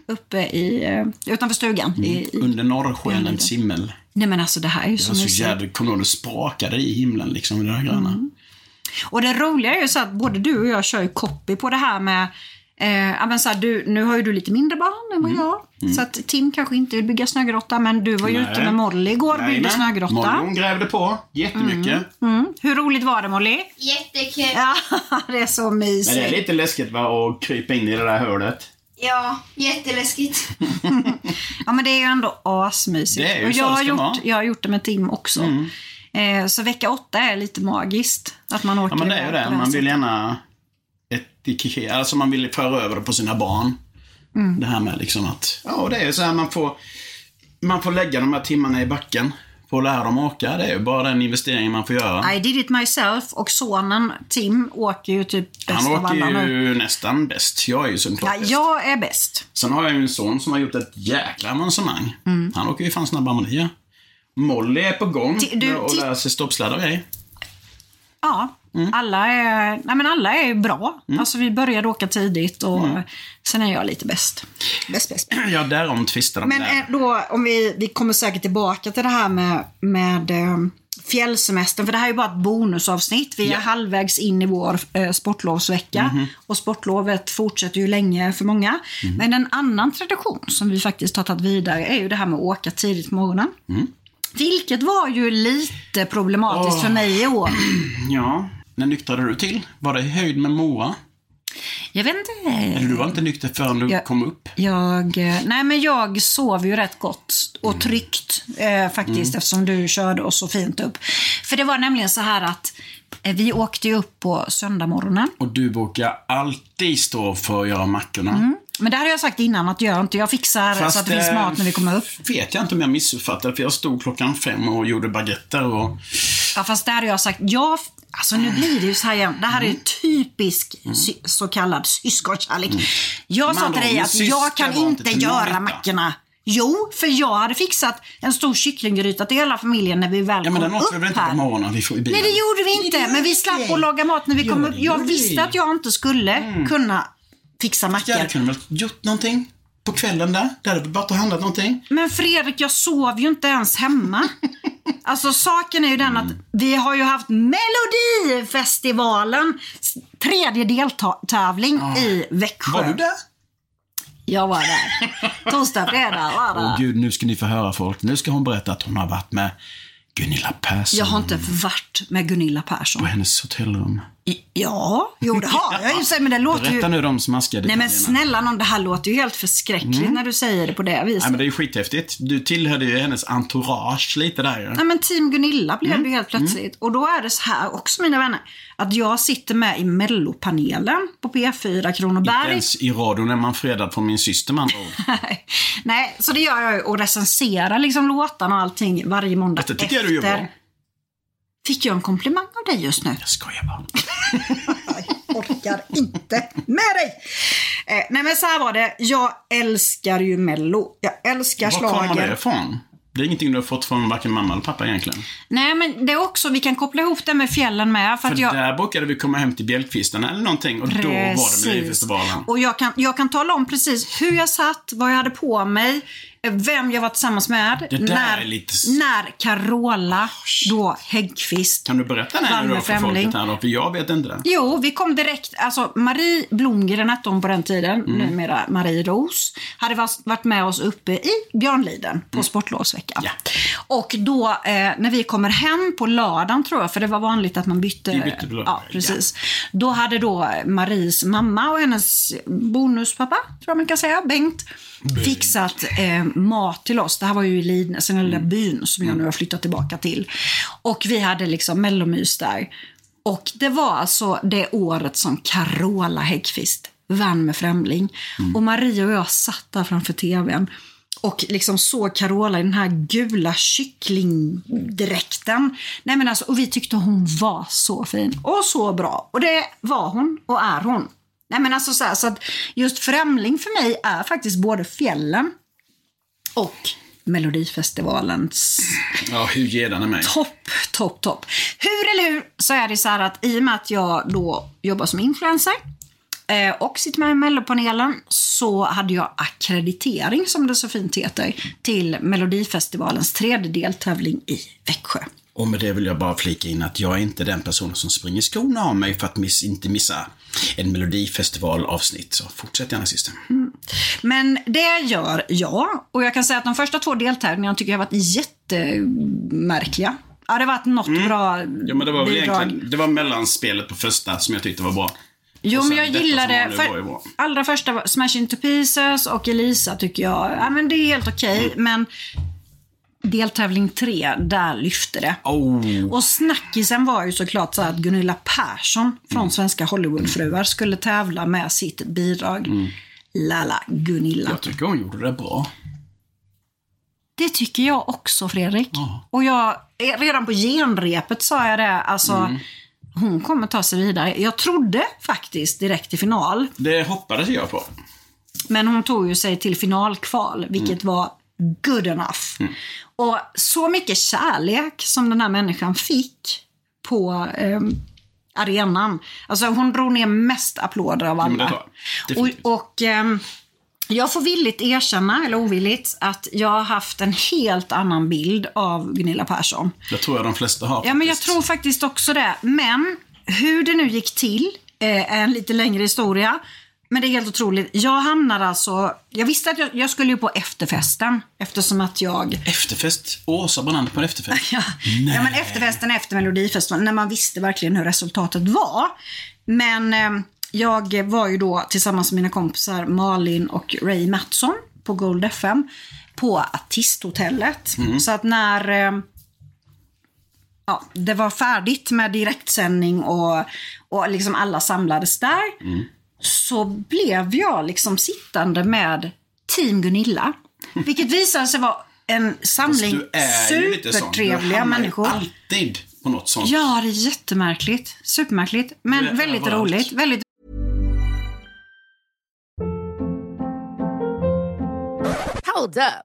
[SPEAKER 1] uppe i, eh, utanför stugan. I, i,
[SPEAKER 2] Under norrskenens simmel.
[SPEAKER 1] nej men alltså det här är ju
[SPEAKER 2] Det
[SPEAKER 1] så
[SPEAKER 2] var så
[SPEAKER 1] mysigt.
[SPEAKER 2] jävla... Kommer du ihåg, det sprakade i himlen liksom, i det där gröna.
[SPEAKER 1] Mm. Och det roliga är ju så att både du och jag kör ju copy på det här med Eh, ja, men så här, du, nu har ju du lite mindre barn än vad
[SPEAKER 2] Mm.
[SPEAKER 1] jag. Så att Tim kanske inte vill bygga snögrotta, men du var ju
[SPEAKER 2] Nej.
[SPEAKER 1] ute med Molly igår och byggde
[SPEAKER 2] Jajamän.
[SPEAKER 1] snögrotta.
[SPEAKER 2] Molly, hon grävde på jättemycket.
[SPEAKER 1] Mm. Hur roligt var det Molly?
[SPEAKER 3] Jättekul.
[SPEAKER 1] Ja, det är så
[SPEAKER 2] Men det är
[SPEAKER 1] mysigt.
[SPEAKER 2] lite läskigt va, att krypa in i det där hörnet.
[SPEAKER 3] Ja, jätteläskigt.
[SPEAKER 1] Ja, men det är ju ändå asmysigt.
[SPEAKER 2] Det är ju
[SPEAKER 1] och
[SPEAKER 2] så
[SPEAKER 1] jag,
[SPEAKER 2] det
[SPEAKER 1] har
[SPEAKER 2] ska vara. Mm.
[SPEAKER 1] gjort, jag har gjort det med Tim också. Eh, så vecka åtta är lite magiskt. Att man åker
[SPEAKER 2] Ja, men det är ju
[SPEAKER 1] iväg
[SPEAKER 2] det.
[SPEAKER 1] på här
[SPEAKER 2] Man vill
[SPEAKER 1] sättet.
[SPEAKER 2] gärna ett etiketter, alltså man vill föra över det på sina barn.
[SPEAKER 1] Mm.
[SPEAKER 2] Det här med liksom att, ja det är ju så här man får, man får lägga de här timmarna i backen på att lära dem åka. Det är ju bara den investeringen man får göra.
[SPEAKER 1] I did it myself och sonen Tim åker ju typ bäst
[SPEAKER 2] Han
[SPEAKER 1] av alla
[SPEAKER 2] åker
[SPEAKER 1] nu.
[SPEAKER 2] ju nästan bäst. Jag är ju såklart
[SPEAKER 1] Ja,
[SPEAKER 2] bäst.
[SPEAKER 1] jag är bäst.
[SPEAKER 2] Sen har jag ju en son som har gjort ett jäkla avancemang.
[SPEAKER 1] Mm.
[SPEAKER 2] Han åker ju fan snabbare än vad ni gör. Molly är på gång
[SPEAKER 1] Ti- du,
[SPEAKER 2] och
[SPEAKER 1] ti-
[SPEAKER 2] lär sig stoppsladdar och grejer.
[SPEAKER 1] Ja, alla är, nej men alla är bra. Alltså vi började åka tidigt och sen är jag lite bäst. Bäst, bäst.
[SPEAKER 2] Ja, därom tvistar de
[SPEAKER 1] Men
[SPEAKER 2] lärde.
[SPEAKER 1] eh, då, om vi, vi kommer säkert tillbaka till det här med, med eh, fjällsemestern, för det här är ju bara ett bonusavsnitt. Vi är
[SPEAKER 2] Ja.
[SPEAKER 1] halvvägs in i vår eh, sportlovsvecka och sportlovet fortsätter ju länge för många. Men en annan tradition som vi faktiskt har tagit vidare är ju det här med att åka tidigt på morgonen. Vilket var ju lite problematiskt för mig i år.
[SPEAKER 2] Ja. När nyktrade du till? Var det i höjd med Moa?
[SPEAKER 1] Jag vet inte.
[SPEAKER 2] Eller du var inte nykter förrän du
[SPEAKER 1] Ja.
[SPEAKER 2] kom upp?
[SPEAKER 1] Jag, eh, nej men jag sov ju rätt gott
[SPEAKER 2] Mm.
[SPEAKER 1] och tryggt eh, faktiskt eftersom du körde oss så fint upp. För det var nämligen så här att eh, vi åkte ju upp på söndagmorgonen.
[SPEAKER 2] Och du brukar alltid stå för att göra mackorna.
[SPEAKER 1] Men det hade jag sagt innan att gör inte, jag fixar så att det finns
[SPEAKER 2] eh,
[SPEAKER 1] mat när vi kommer upp.
[SPEAKER 2] vet jag inte om jag missuppfattade, för jag stod klockan fem och gjorde baguetter och...
[SPEAKER 1] Ja, fast där har jag sagt, jag, alltså nu blir det ju så här igen. Det här
[SPEAKER 2] Mm.
[SPEAKER 1] är ju typisk sy, så kallad syskonkärlek. Jag sa
[SPEAKER 2] Man
[SPEAKER 1] till
[SPEAKER 2] då,
[SPEAKER 1] dig
[SPEAKER 2] Mm. min
[SPEAKER 1] att
[SPEAKER 2] syster
[SPEAKER 1] jag kan
[SPEAKER 2] var inte
[SPEAKER 1] inte
[SPEAKER 2] till
[SPEAKER 1] göra
[SPEAKER 2] Marita.
[SPEAKER 1] mackorna. Jo, för jag hade fixat en stor kycklinggryta till hela familjen när vi väl
[SPEAKER 2] Ja, men
[SPEAKER 1] kom
[SPEAKER 2] den åt vi
[SPEAKER 1] upp
[SPEAKER 2] väl inte
[SPEAKER 1] här.
[SPEAKER 2] på morgonen? Vi får i bilen.
[SPEAKER 1] Nej, det gjorde vi inte. Men vi slapp att laga mat när vi kom
[SPEAKER 2] Jo,
[SPEAKER 1] upp.
[SPEAKER 2] det
[SPEAKER 1] Jag
[SPEAKER 2] gjorde vi. Mm.
[SPEAKER 1] visste att jag inte skulle kunna fixa
[SPEAKER 2] Jag hade
[SPEAKER 1] mackor.
[SPEAKER 2] kunnat väl gjort någonting på kvällen där. Det hade vi bara ta och handlat någonting.
[SPEAKER 1] Men Fredrik, jag sov ju inte ens hemma. Alltså saken är ju den att
[SPEAKER 2] Mm.
[SPEAKER 1] vi har ju haft Melodifestivalen tredje deltävling i Växjö.
[SPEAKER 2] Var du där?
[SPEAKER 1] Jag var där. Torsdag, fredag, lördag.
[SPEAKER 2] Åh gud, nu ska ni få höra folk. Nu ska hon berätta att hon har varit med Gunilla Persson
[SPEAKER 1] jag har inte varit med Gunilla Persson.
[SPEAKER 2] på hennes hotellrum.
[SPEAKER 1] Ja, jo det har jag ju. Men det låter ju...
[SPEAKER 2] Berätta nu de smaskiga
[SPEAKER 1] Nej men
[SPEAKER 2] detaljerna.
[SPEAKER 1] snälla nån, det här låter ju helt förskräckligt när du säger det på det viset.
[SPEAKER 2] Mm. Nej men det är ju skithäftigt. Du tillhörde ju hennes entourage lite där ju.
[SPEAKER 1] Ja, men team Gunilla blev
[SPEAKER 2] Mm.
[SPEAKER 1] det ju helt plötsligt. Och då är det så här också mina vänner. Att jag sitter med i mellopanelen på P4
[SPEAKER 2] Inte
[SPEAKER 1] Kronoberg.
[SPEAKER 2] ens i radion är man fredad från min syster man då.
[SPEAKER 1] Nej, så det gör jag ju och recenserar liksom låtarna och allting varje måndag
[SPEAKER 2] Det tycker jag du gör bra.
[SPEAKER 1] Fick jag en komplimang av dig just nu?
[SPEAKER 2] Jag skojar bara.
[SPEAKER 1] Jag orkar inte med dig! Eh, nej men så här var det. Jag älskar ju mello. Jag älskar
[SPEAKER 2] Var
[SPEAKER 1] schlager.
[SPEAKER 2] kommer det ifrån? Det är ingenting du har fått från varken mamma eller pappa egentligen.
[SPEAKER 1] Nej men det är också, vi kan koppla ihop det med fjällen med. För
[SPEAKER 2] För
[SPEAKER 1] att jag,
[SPEAKER 2] där brukade vi komma hem till bjälkfistarna eller någonting och då var det Melodifestivalen.
[SPEAKER 1] Och jag kan, jag kan tala om precis hur jag satt, vad jag hade på mig, vem jag var tillsammans med.
[SPEAKER 2] Det där
[SPEAKER 1] när,
[SPEAKER 2] är lite s-
[SPEAKER 1] när Carola då Häggkvist
[SPEAKER 2] Kan du berätta det här
[SPEAKER 1] vann
[SPEAKER 2] nu då
[SPEAKER 1] med
[SPEAKER 2] för
[SPEAKER 1] Främling.
[SPEAKER 2] folket här då? För jag vet inte det.
[SPEAKER 1] Jo, vi kom direkt. Alltså Marie Blomgren hette hon på den tiden,
[SPEAKER 2] Mm.
[SPEAKER 1] numera Marie Ros. Hade vas- varit med oss uppe i Björnliden på sportlovsveckan.
[SPEAKER 2] Mm. Ja.
[SPEAKER 1] Och då eh, när vi kommer hem på lördagen tror jag, för det var vanligt att man bytte.
[SPEAKER 2] Vi bytte på lördag,
[SPEAKER 1] ja, precis. Då hade då Maries mamma och hennes bonuspappa, tror jag man kan säga, Bengt, fixat eh, mat till oss. Det här var ju i Lidnäs, den lilla byn som jag nu har flyttat tillbaka till. Och vi hade liksom mellomys där. Och det var alltså det året som Carola Häggkvist vann med Främling. Och Marie och jag satt där framför tvn och liksom såg Carola i den här gula kycklingdräkten. Nej men alltså, och vi tyckte hon var så fin och så bra. Och det var hon och är hon. Nej men alltså så, här, så att just Främling för mig är faktiskt både fjällen och Melodifestivalens
[SPEAKER 2] Ja, hur ger den mig?
[SPEAKER 1] Topp, topp, topp. Hur eller hur så är det så här att i och med att jag då jobbar som influencer eh, och sitter med i Mellopanelen så hade jag akkreditering, som det så fint heter, till Melodifestivalens tredje deltävling i Växjö.
[SPEAKER 2] Och med det vill jag bara flika in att jag är inte den personen som springer skorna av mig för att miss, inte missa en melodifestivalavsnitt. Så fortsätt gärna sista.
[SPEAKER 1] Men det gör jag. Och jag kan säga att de första två deltävlingarna tycker jag har varit jättemärkliga. Ja, det har varit något bra
[SPEAKER 2] Mm. Ja, men det var väl
[SPEAKER 1] bidrag.
[SPEAKER 2] egentligen, det var mellanspelet på första som jag tyckte var bra.
[SPEAKER 1] Jo,
[SPEAKER 2] Och sen
[SPEAKER 1] men jag
[SPEAKER 2] detta som
[SPEAKER 1] gillade...
[SPEAKER 2] vanligt var ju
[SPEAKER 1] För
[SPEAKER 2] bra.
[SPEAKER 1] allra första var
[SPEAKER 2] Mm.
[SPEAKER 1] Smash Into Pieces och Elisa tycker jag, ja men det är helt okej. Men deltävling tre, där lyfte det.
[SPEAKER 2] Oh.
[SPEAKER 1] Och snackisen var ju såklart så här att Gunilla Persson
[SPEAKER 2] Mm.
[SPEAKER 1] från Svenska Hollywoodfruar skulle tävla med sitt bidrag.
[SPEAKER 2] Mm.
[SPEAKER 1] Lala Gunilla.
[SPEAKER 2] Jag tycker hon gjorde det bra.
[SPEAKER 1] Det tycker jag också Fredrik. Och jag, redan på genrepet sa jag det, alltså
[SPEAKER 2] Mm.
[SPEAKER 1] hon kommer ta sig vidare. Jag trodde faktiskt direkt till final,
[SPEAKER 2] Det hoppades jag på.
[SPEAKER 1] men hon tog ju sig till finalkval, vilket
[SPEAKER 2] Mm.
[SPEAKER 1] var good enough. Och så mycket kärlek som den här människan fick på ehm, arenan. Alltså hon drog ner mest applåder av
[SPEAKER 2] men det
[SPEAKER 1] alla.
[SPEAKER 2] var-
[SPEAKER 1] och
[SPEAKER 2] definitivt.
[SPEAKER 1] och ehm, jag får villigt erkänna, eller ovilligt, att jag har haft en helt annan bild av Gunilla Persson.
[SPEAKER 2] Det tror jag de flesta har.
[SPEAKER 1] Ja, men jag
[SPEAKER 2] faktiskt.
[SPEAKER 1] tror faktiskt också det. Men hur det nu gick till eh, är en lite längre historia. Men det är helt otroligt. Jag hamnade alltså... Jag visste att jag, jag skulle ju på efterfesten eftersom att jag...
[SPEAKER 2] Efterfest. Åsa Brandt på en efterfest.
[SPEAKER 1] Ja, ja men efterfesten efter Melodifestivalen, när man visste verkligen hur resultatet var. Men eh, jag var ju då tillsammans med mina kompisar Malin och Ray Mattsson på Gold FM på Artisthotellet. Så att när eh, ja, det var färdigt med direktsändning och, och liksom alla samlades där.
[SPEAKER 2] Mm.
[SPEAKER 1] Så blev jag liksom sittande med Team Gunilla. Vilket visade sig vara en
[SPEAKER 2] Fast
[SPEAKER 1] samling
[SPEAKER 2] Alltså, du är ju lite sån. Du
[SPEAKER 1] supertrevliga
[SPEAKER 2] hamnar ju
[SPEAKER 1] människor.
[SPEAKER 2] alltid på något sånt.
[SPEAKER 1] Ja, det är jättemärkligt. Supermärkligt. Men
[SPEAKER 2] Det är
[SPEAKER 1] väldigt
[SPEAKER 2] överallt.
[SPEAKER 1] roligt. Väldigt
[SPEAKER 4] Hold up.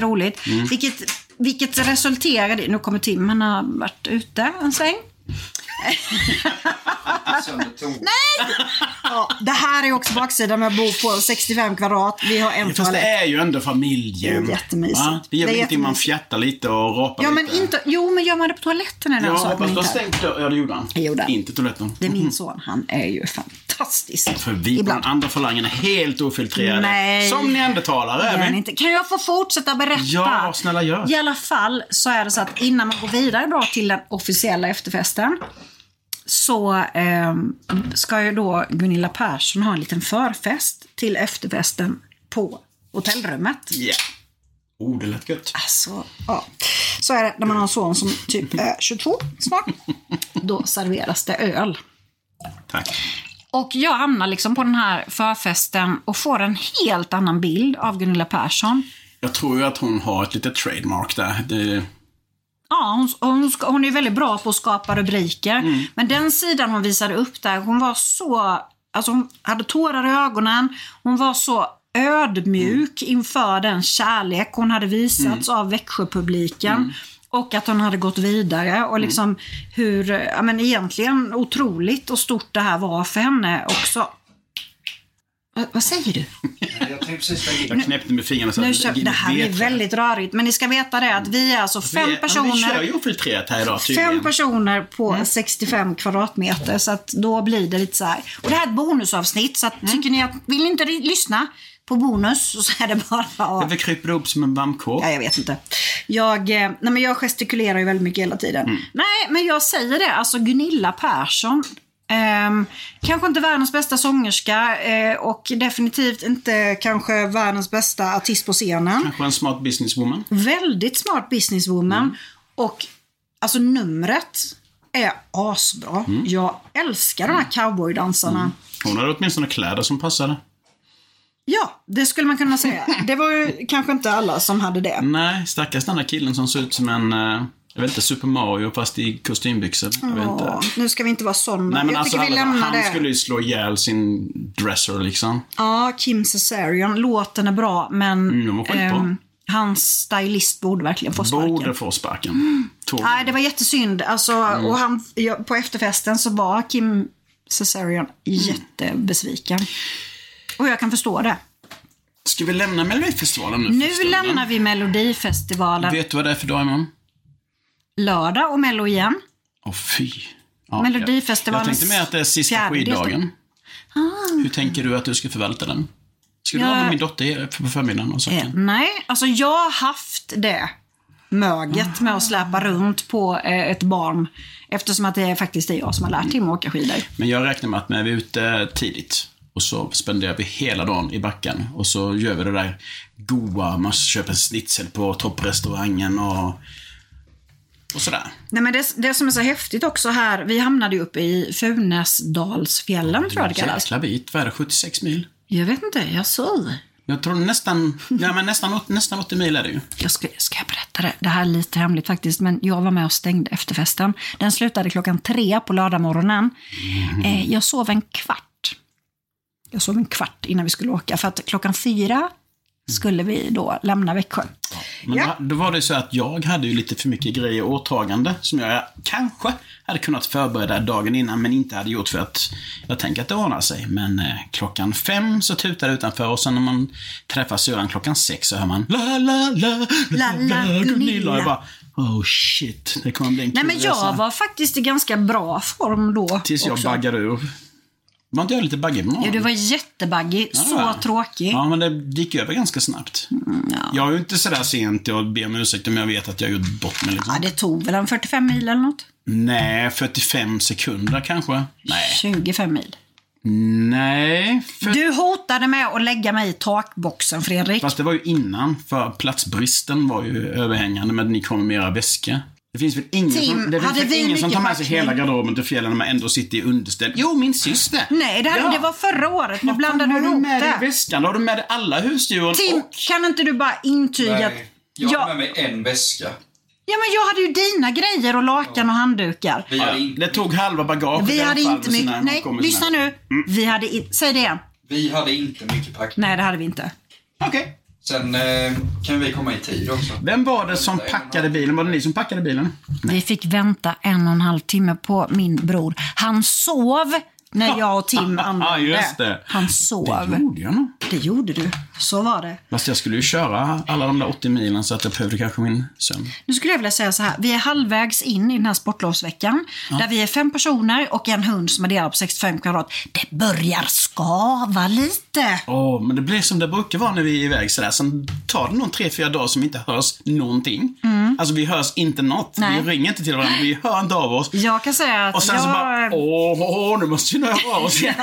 [SPEAKER 1] roligt.
[SPEAKER 2] Mm.
[SPEAKER 1] Vilket, vilket resulterade i... Nu kommer Tim, han har varit ute en sväng. Ja, det här är också baksidan med att bo på 65 kvadrat. Vi har en
[SPEAKER 2] Fast det
[SPEAKER 1] toalett.
[SPEAKER 2] är ju ändå familjen.
[SPEAKER 1] Det är jättemysigt.
[SPEAKER 2] Va? Det gör
[SPEAKER 1] Det är
[SPEAKER 2] väl ingenting om man
[SPEAKER 1] jättemysigt.
[SPEAKER 2] fjärtar lite och rapar
[SPEAKER 1] Ja,
[SPEAKER 2] lite.
[SPEAKER 1] men inte... Jo, men gör man det på toaletten är det
[SPEAKER 2] Ja,
[SPEAKER 1] en sak.
[SPEAKER 2] hoppas
[SPEAKER 1] men
[SPEAKER 2] du har
[SPEAKER 1] inte här.
[SPEAKER 2] stängt dörren. Ja, det gjorde han.
[SPEAKER 1] Jag gjorde han.
[SPEAKER 2] Inte toaletten.
[SPEAKER 1] Det är min son. Han är ju fantastisk.
[SPEAKER 2] Mm. För vi på den andra falangen är helt ofiltrerade.
[SPEAKER 1] Nej.
[SPEAKER 2] Som neandertalare
[SPEAKER 1] Det är
[SPEAKER 2] är
[SPEAKER 1] han
[SPEAKER 2] vi.
[SPEAKER 1] inte. Kan jag få fortsätta berätta?
[SPEAKER 2] Ja, snälla gör.
[SPEAKER 1] I alla fall så är det så att innan man går vidare då till den officiella efterfesten så eh, ska ju då Gunilla Persson ha en liten förfest till efterfesten på hotellrummet.
[SPEAKER 2] Ja. Oh, det lät gött.
[SPEAKER 1] Alltså, ja. Så är det när man har en son som typ är 22 snart. Då serveras det öl.
[SPEAKER 2] Tack.
[SPEAKER 1] Och jag hamnar liksom på den här förfesten och får en helt annan bild av Gunilla Persson.
[SPEAKER 2] Jag tror ju att hon har ett litet trademark där. Det,
[SPEAKER 1] Ja, hon, hon, ska- hon är väldigt bra på att skapa rubriker.
[SPEAKER 2] Mm.
[SPEAKER 1] Men den sidan hon visade upp där, hon var så... Alltså hon hade tårar i ögonen. Hon var så ödmjuk
[SPEAKER 2] Mm.
[SPEAKER 1] inför den kärlek hon hade visats av Växjöpubliken.
[SPEAKER 2] Mm.
[SPEAKER 1] Och att hon hade gått vidare och liksom hur, ja men egentligen otroligt och stort det här var för henne också. Va, vad säger du?
[SPEAKER 2] jag knäppte med fingrarna så
[SPEAKER 1] Nu
[SPEAKER 2] att
[SPEAKER 1] kör,
[SPEAKER 2] gick
[SPEAKER 1] det här blir
[SPEAKER 2] vet jag.
[SPEAKER 1] väldigt rörigt, men ni ska veta det att vi är alltså fem
[SPEAKER 2] Vi- Ja, vi
[SPEAKER 1] personer.
[SPEAKER 2] kör ju ofiltrerat här idag tydligen.
[SPEAKER 1] Fem personer på 65 kvadratmeter, så att då blir det lite så här. Och det här är ett bonusavsnitt, så att, tycker ni att, vill ni inte ri- lyssna på bonus så är det bara ja.
[SPEAKER 2] Varför kryper du upp som en vampkår?
[SPEAKER 1] Ja, jag vet inte. Jag, eh, nej, men jag gestikulerar ju väldigt mycket hela tiden. Nej, men jag säger det. Alltså Gunilla Persson. ehm, kanske inte världens bästa sångerska eh, och definitivt inte kanske världens bästa artist på scenen.
[SPEAKER 2] Kanske en smart businesswoman.
[SPEAKER 1] Väldigt smart businesswoman.
[SPEAKER 2] Mm.
[SPEAKER 1] Och alltså numret är asbra.
[SPEAKER 2] Mm.
[SPEAKER 1] Jag älskar de här cowboydansarna.
[SPEAKER 2] Hon hade åtminstone kläder som passade.
[SPEAKER 1] Ja, det skulle man kunna
[SPEAKER 2] Mm.
[SPEAKER 1] säga. Det var ju kanske inte alla som hade det.
[SPEAKER 2] Nej, stackars den där killen som ser ut som en eh, Jag vet inte, Super Mario fast i kostymbyxor. Jag vet inte.
[SPEAKER 1] Ja, nu ska vi inte vara sådana.
[SPEAKER 2] Nej, men
[SPEAKER 1] jag
[SPEAKER 2] alltså,
[SPEAKER 1] tycker vi
[SPEAKER 2] alla-
[SPEAKER 1] lämnar
[SPEAKER 2] han
[SPEAKER 1] det.
[SPEAKER 2] skulle ju slå ihjäl sin dresser liksom.
[SPEAKER 1] Ja, Kim Cesarion. Låten är bra, men
[SPEAKER 2] Mm, de har skit på.
[SPEAKER 1] ehm, hans stylist borde verkligen få sparken. Mm.
[SPEAKER 2] Borde få sparken. Tog-
[SPEAKER 1] Nej, det var jättesynd. Alltså,
[SPEAKER 2] Mm.
[SPEAKER 1] och han, ja, på efterfesten så var Kim Cesarion
[SPEAKER 2] Mm.
[SPEAKER 1] jättebesviken. Och jag kan förstå det.
[SPEAKER 2] Ska vi lämna Melodifestivalen nu?
[SPEAKER 1] Nu
[SPEAKER 2] för stunden?
[SPEAKER 1] lämnar vi Melodifestivalen
[SPEAKER 2] Vet du vad det är för dag imorgon?
[SPEAKER 1] lördag och Mello igen.
[SPEAKER 2] Åh fy. Ja,
[SPEAKER 1] Melodifestivalen-
[SPEAKER 2] Jag, jag tänkte med att det är sista
[SPEAKER 1] Fjärde
[SPEAKER 2] skiddagen. Hur tänker du att du ska förvalta den? Ska du
[SPEAKER 1] Jag-
[SPEAKER 2] ha med min dotter på förmiddagen och
[SPEAKER 1] Eh,
[SPEAKER 2] söka?
[SPEAKER 1] Nej, alltså jag har haft det möget med att
[SPEAKER 2] Ah.
[SPEAKER 1] släpa runt på eh, ett barn. Eftersom att det är faktiskt det jag som har lärt Tim att åka skidor.
[SPEAKER 2] Men jag räknar med att när vi är ute tidigt och så spenderar vi hela dagen i backen och så gör vi det där goa, man köper en schnitzel på topprestaurangen och, och sådär.
[SPEAKER 1] Nej, men det, det som är så häftigt också här, vi hamnade ju uppe i Funäsdalsfjällen tror jag det kallas.
[SPEAKER 2] Jäkla bit, vad är det, 76 mil?
[SPEAKER 1] Jag vet inte, jag såg.
[SPEAKER 2] Jag tror nästan, ja men nästan, åt- nästan 80 mil är det ju.
[SPEAKER 1] Jag ska, ska jag berätta det? Det här är lite hemligt faktiskt, men jag var med och stängde efterfesten. Den slutade klockan tre på lördagmorgonen.
[SPEAKER 2] Mhm.
[SPEAKER 1] Eh, jag sov en kvart. Jag sov en kvart innan vi skulle åka, för att klockan fyra skulle vi då lämna Växjö.
[SPEAKER 2] Men
[SPEAKER 1] Ja.
[SPEAKER 2] då, då var det så att jag hade ju lite för mycket grejer och åtagande som jag kanske hade kunnat förbereda dagen innan men inte hade gjort för att jag tänker att det ordnar sig. Men eh, klockan fem så tutar det utanför och sen när man träffar syrran klockan sex så hör man la la la
[SPEAKER 1] La, la, Gunilla.
[SPEAKER 2] Och jag bara oh shit, det kommer bli en
[SPEAKER 1] Nej,
[SPEAKER 2] kul
[SPEAKER 1] men
[SPEAKER 2] resa.
[SPEAKER 1] jag var faktiskt i ganska bra form då.
[SPEAKER 2] Tills jag
[SPEAKER 1] också.
[SPEAKER 2] baggade ur. Var inte jag lite baggig på
[SPEAKER 1] Ja,
[SPEAKER 2] morgonen?
[SPEAKER 1] du var jättebaggig.
[SPEAKER 2] Ja.
[SPEAKER 1] Så tråkig.
[SPEAKER 2] Ja, men det gick över ganska snabbt.
[SPEAKER 1] Mm,
[SPEAKER 2] Jag är ju inte sådär sent, jag ber om ursäkt om jag vet att jag gjort bort mig. Liksom.
[SPEAKER 1] Ja, det tog väl en 45 mil eller något?
[SPEAKER 2] Nej, 45 sekunder kanske. Nej.
[SPEAKER 1] 25 mil.
[SPEAKER 2] Nej. För...
[SPEAKER 1] Du hotade med att lägga mig i takboxen, Fredrik.
[SPEAKER 2] Fast det var ju innan, för platsbristen var ju överhängande med att ni kommer med era väskor. Det finns väl ingen,
[SPEAKER 1] Tim,
[SPEAKER 2] som, det finns
[SPEAKER 1] hade
[SPEAKER 2] väl
[SPEAKER 1] vi
[SPEAKER 2] ingen som
[SPEAKER 1] mycket
[SPEAKER 2] tar med sig
[SPEAKER 1] packning?
[SPEAKER 2] hela garderoben till fjällen när man ändå sitter i underställ? Jo, min syster!
[SPEAKER 1] Nej, det, här,
[SPEAKER 2] Ja.
[SPEAKER 1] det var förra året. Nu
[SPEAKER 2] Vad fan
[SPEAKER 1] blandade
[SPEAKER 2] har
[SPEAKER 1] du
[SPEAKER 2] du
[SPEAKER 1] ihop
[SPEAKER 2] med dig i
[SPEAKER 1] det.
[SPEAKER 2] väskan? Då har du med dig alla husdjuren
[SPEAKER 1] Tim,
[SPEAKER 2] och...
[SPEAKER 1] kan inte du bara intyga att...
[SPEAKER 5] Nej, jag har
[SPEAKER 1] Ja,
[SPEAKER 5] med mig en väska.
[SPEAKER 1] ja, men jag hade ju dina grejer och lakan och handdukar.
[SPEAKER 5] Vi hade, in,
[SPEAKER 2] Det tog halva bagaget i
[SPEAKER 1] Vi
[SPEAKER 2] alla
[SPEAKER 1] hade
[SPEAKER 2] fall
[SPEAKER 1] inte
[SPEAKER 2] med sina
[SPEAKER 1] mycket... Nej,
[SPEAKER 2] kompisar. Mm.
[SPEAKER 1] lyssna nu. Vi hade in... Säg det igen.
[SPEAKER 5] vi hade inte mycket packning.
[SPEAKER 1] Nej, det hade vi inte.
[SPEAKER 2] Okej.
[SPEAKER 5] Sen eh, kan vi komma i tid också.
[SPEAKER 2] Vem var det som packade bilen? Var det ni som packade bilen?
[SPEAKER 1] Vi fick vänta en och en halv timme på min bror. Han sov när jag och Tim anlände.
[SPEAKER 2] Just det.
[SPEAKER 1] Han sov.
[SPEAKER 2] Det gjorde jag nog.
[SPEAKER 1] Det gjorde du. Så var det.
[SPEAKER 2] Fast jag skulle ju köra alla de där 80 milen så att jag behövde kanske min sömn.
[SPEAKER 1] Nu skulle jag vilja säga så här. Vi är halvvägs in i den här sportlovsveckan. Där vi är fem personer och en hund som är delad på 65 kvadrat. Det börjar skava lite.
[SPEAKER 2] Åh, men det blir som det brukar vara när vi är iväg sådär. Sen tar det nog tre, fyra dagar som inte hörs någonting. Alltså vi hörs inte något.
[SPEAKER 1] Mm. Nej.
[SPEAKER 2] Vi ringer inte till varandra, vi hör inte av oss.
[SPEAKER 1] Jag kan säga att
[SPEAKER 2] Och sen
[SPEAKER 1] jag...
[SPEAKER 2] så bara, åh, åh, nu måste vi nog höra av oss igen.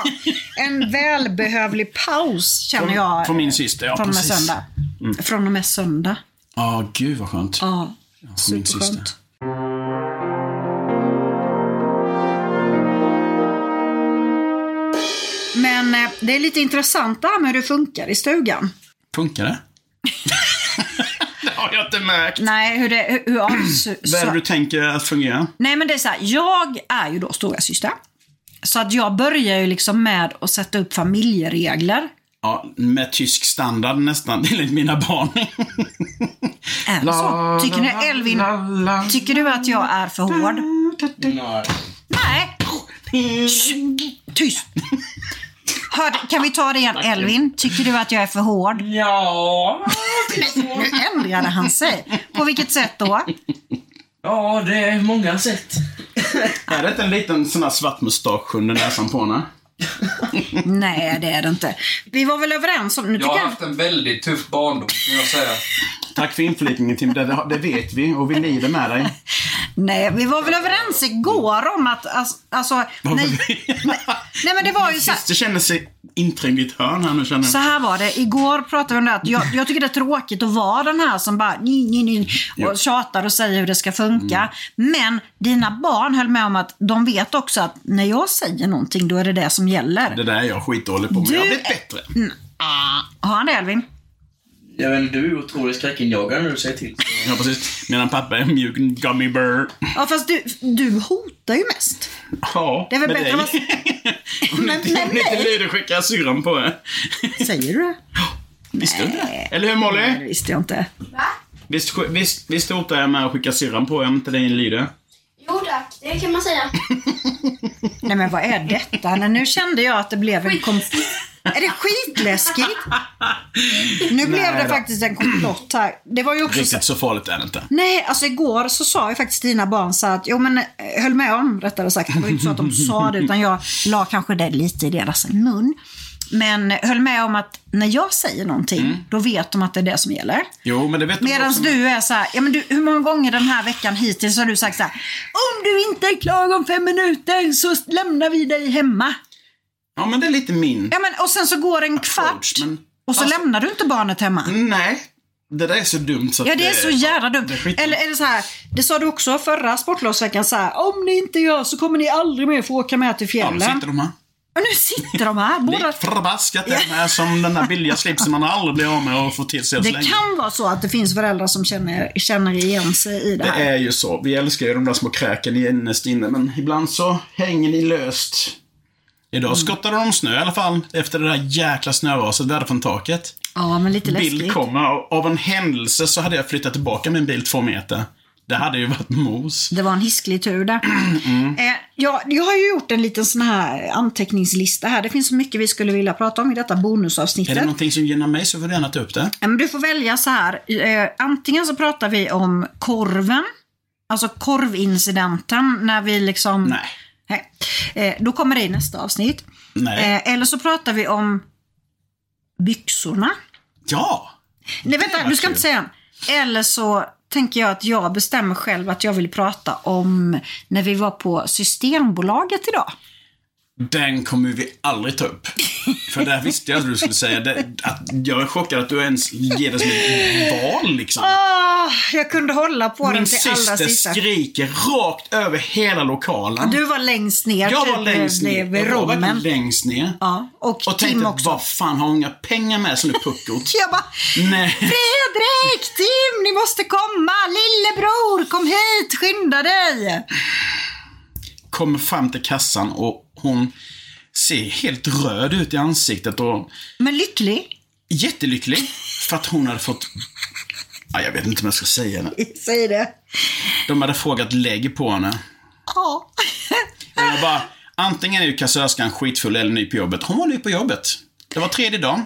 [SPEAKER 1] En välbehövlig paus känner
[SPEAKER 2] Från-
[SPEAKER 1] jag.
[SPEAKER 2] från min syster, ja,
[SPEAKER 1] Från och med
[SPEAKER 2] precis. Mm.
[SPEAKER 1] söndag. Från och med söndag.
[SPEAKER 2] Ja, gud vad skönt.
[SPEAKER 1] Ja,
[SPEAKER 2] min syster.
[SPEAKER 1] superskönt. Men eh, det är lite intressant det här med hur det funkar i stugan.
[SPEAKER 2] Funkar det? det har jag inte märkt.
[SPEAKER 1] Nej, hur det... Hur, hur avsu-
[SPEAKER 2] Vad
[SPEAKER 1] så-
[SPEAKER 2] är det du tänker att fungera?
[SPEAKER 1] Nej men det är så här, jag är ju då stora syster. Så att jag börjar ju liksom med att sätta upp familjeregler.
[SPEAKER 2] Ja, med tysk standard nästan, enligt mina barn.
[SPEAKER 1] Är det så? Tycker ni Elvin, tycker du att jag är för hård?
[SPEAKER 5] Nej.
[SPEAKER 1] Nej! Tyst! Hörde, kan vi ta det igen Elvin? Tycker du att jag är för hård?
[SPEAKER 5] Ja.
[SPEAKER 1] Nu ändrade han sig. På vilket sätt då?
[SPEAKER 5] ja, det är många sätt.
[SPEAKER 2] Är det inte en liten sån här svart mustasch under näsan på henne?
[SPEAKER 1] Nej, det är det inte. Vi var väl överens om... Nu
[SPEAKER 5] Jag
[SPEAKER 1] tycker
[SPEAKER 5] har
[SPEAKER 1] jag,
[SPEAKER 5] haft en väldigt tuff barndom kan jag säga.
[SPEAKER 2] Tack för inflikningen Tim, det, det vet vi och vi lider med dig.
[SPEAKER 1] nej, vi var väl överens igår om att... Alltså, alltså, nej, nej, men det var ju så här,
[SPEAKER 2] Det känner sig inträngd i ett hörn här nu känner jag.
[SPEAKER 1] så här var det. Igår pratade vi om det att jag, jag tycker det är tråkigt att vara den här som bara ni, ni, ni, och tjatar och säger hur det ska funka. Men dina barn höll med om att de vet också att när jag säger någonting då är det det som gäller.
[SPEAKER 2] Det där är jag skitdålig på, men jag har
[SPEAKER 1] Du-
[SPEAKER 2] blivit bättre.
[SPEAKER 1] Har han det Elvin?
[SPEAKER 5] Ja, men du är otroligt skräckinjagande när du säger till.
[SPEAKER 2] Ja, precis. Medan pappa är en mjuk gummy bear.
[SPEAKER 1] Ja, fast du, du hotar ju mest.
[SPEAKER 2] Ja,
[SPEAKER 1] Det är väl
[SPEAKER 2] med
[SPEAKER 1] bättre
[SPEAKER 2] dig.
[SPEAKER 1] att man-
[SPEAKER 2] Om
[SPEAKER 1] Men-
[SPEAKER 2] inte-
[SPEAKER 1] men
[SPEAKER 2] om inte
[SPEAKER 1] nej.
[SPEAKER 2] lyder skickar jag syrran på er.
[SPEAKER 1] Säger du det?
[SPEAKER 2] Visste du det? Eller hur Molly?
[SPEAKER 1] Nej, det visste jag inte.
[SPEAKER 3] Va?
[SPEAKER 2] Visst, sk- visst, visst hotar jag med att skicka syrran på er om inte den lyder?
[SPEAKER 3] Jo tack, det kan man säga.
[SPEAKER 1] Nej, men vad är detta? Nej, nu kände jag att det blev en konflikt. Är det skitläskigt? Nu blev det
[SPEAKER 2] då.
[SPEAKER 1] faktiskt en komplott här. Det var ju också så
[SPEAKER 2] Riktigt så farligt är det inte.
[SPEAKER 1] Nej, alltså igår så sa ju faktiskt dina barn så att, jo men eh, höll med om rättare sagt. Det var ju inte så att de sa det utan jag la kanske det lite i deras mun. Men eh, höll med om att när jag säger någonting,
[SPEAKER 2] Mm.
[SPEAKER 1] då vet de att det är det som gäller.
[SPEAKER 2] Jo, men det vet
[SPEAKER 1] Medan
[SPEAKER 2] också.
[SPEAKER 1] du är så här, ja men du, hur många gånger den här veckan hittills har du sagt så här, om du inte är klar om fem minuter så lämnar vi dig hemma.
[SPEAKER 2] Ja, men det är lite min.
[SPEAKER 1] Ja men och sen så går en kvart
[SPEAKER 2] men-
[SPEAKER 1] och så
[SPEAKER 2] Alltså-
[SPEAKER 1] lämnar du inte barnet hemma.
[SPEAKER 2] Nej. Det där är så dumt så att
[SPEAKER 1] Ja, det är så jävla dumt.
[SPEAKER 2] det är skit-
[SPEAKER 1] Eller är det så här, det sa du också förra sportlovsveckan så här, om ni inte gör så kommer ni aldrig mer få åka med till
[SPEAKER 2] Ja,
[SPEAKER 1] fjällen.
[SPEAKER 2] nu sitter de här.
[SPEAKER 1] Och nu sitter de här båda.
[SPEAKER 2] Likt förbaskat den här som den där billiga slipsen man aldrig blir av med och får till sig att
[SPEAKER 1] Det
[SPEAKER 2] slänga.
[SPEAKER 1] kan vara så att det finns föräldrar som känner, känner igen sig i det
[SPEAKER 2] Det
[SPEAKER 1] här.
[SPEAKER 2] är ju så. Vi älskar ju de där små kräken innerst inne, men ibland så hänger ni löst.
[SPEAKER 1] Mm.
[SPEAKER 2] Idag skottade de snö i alla fall, efter det där jäkla snöraset vi hade från taket.
[SPEAKER 1] Ja, men lite
[SPEAKER 2] Bild
[SPEAKER 1] läskigt.
[SPEAKER 2] kommer. Av- Av en händelse så hade jag flyttat tillbaka min bil två meter. Det hade ju varit mos.
[SPEAKER 1] Det var en hisklig tur där.
[SPEAKER 2] Mm.
[SPEAKER 1] Eh, jag, jag har ju gjort en liten sån här anteckningslista här. Det finns så mycket vi skulle vilja prata om i detta
[SPEAKER 2] Är
[SPEAKER 1] bonusavsnittet.
[SPEAKER 2] det någonting som gynnar mig så får du gärna ta upp det.
[SPEAKER 1] Ja, Men du får välja så här. Eh, antingen så pratar vi om korven. Alltså korvincidenten när vi liksom...
[SPEAKER 2] Nej.
[SPEAKER 1] Nej. Eh, då kommer det i nästa avsnitt.
[SPEAKER 2] Nej.
[SPEAKER 1] Eh, eller så pratar vi om byxorna.
[SPEAKER 2] Ja!
[SPEAKER 1] Nej vänta,
[SPEAKER 2] var
[SPEAKER 1] du ska
[SPEAKER 2] kul.
[SPEAKER 1] inte säga än. Eller så tänker jag att jag bestämmer själv att jag vill prata om när vi var på Systembolaget idag.
[SPEAKER 2] Den kommer vi aldrig ta upp. För där visste jag att du skulle säga det. Att jag är chockad att du ens ger det som ett val liksom.
[SPEAKER 1] Ah, jag kunde hålla på den
[SPEAKER 2] Min
[SPEAKER 1] till allra
[SPEAKER 2] syster
[SPEAKER 1] sista.
[SPEAKER 2] skriker rakt över hela lokalen.
[SPEAKER 1] Du var längst ner.
[SPEAKER 2] jag
[SPEAKER 1] typ,
[SPEAKER 2] var längst
[SPEAKER 1] vid-
[SPEAKER 2] ner.
[SPEAKER 1] Vid
[SPEAKER 2] Jag var verkligen
[SPEAKER 1] rommen.
[SPEAKER 2] längst ner.
[SPEAKER 1] Ja, och,
[SPEAKER 2] Och
[SPEAKER 1] Tim
[SPEAKER 2] tänkte,
[SPEAKER 1] också.
[SPEAKER 2] vad fan har hon inga pengar med sig nu puckot?
[SPEAKER 1] Jag bara,
[SPEAKER 2] Nej.
[SPEAKER 1] Fredrik, Tim, ni måste komma! Lillebror, kom hit, skynda dig!
[SPEAKER 2] kommer fram till kassan och hon ser helt röd ut i ansiktet och
[SPEAKER 1] Men lycklig,
[SPEAKER 2] jättelycklig för att hon hade fått... Ja, jag vet inte om jag ska säga det.
[SPEAKER 1] säg det.
[SPEAKER 2] De hade frågat lägg på henne.
[SPEAKER 1] Ja.
[SPEAKER 2] Och jag bara, antingen är ju kassörskan skitfull eller ny på jobbet. Hon var ny på jobbet. Det var tredje dagen.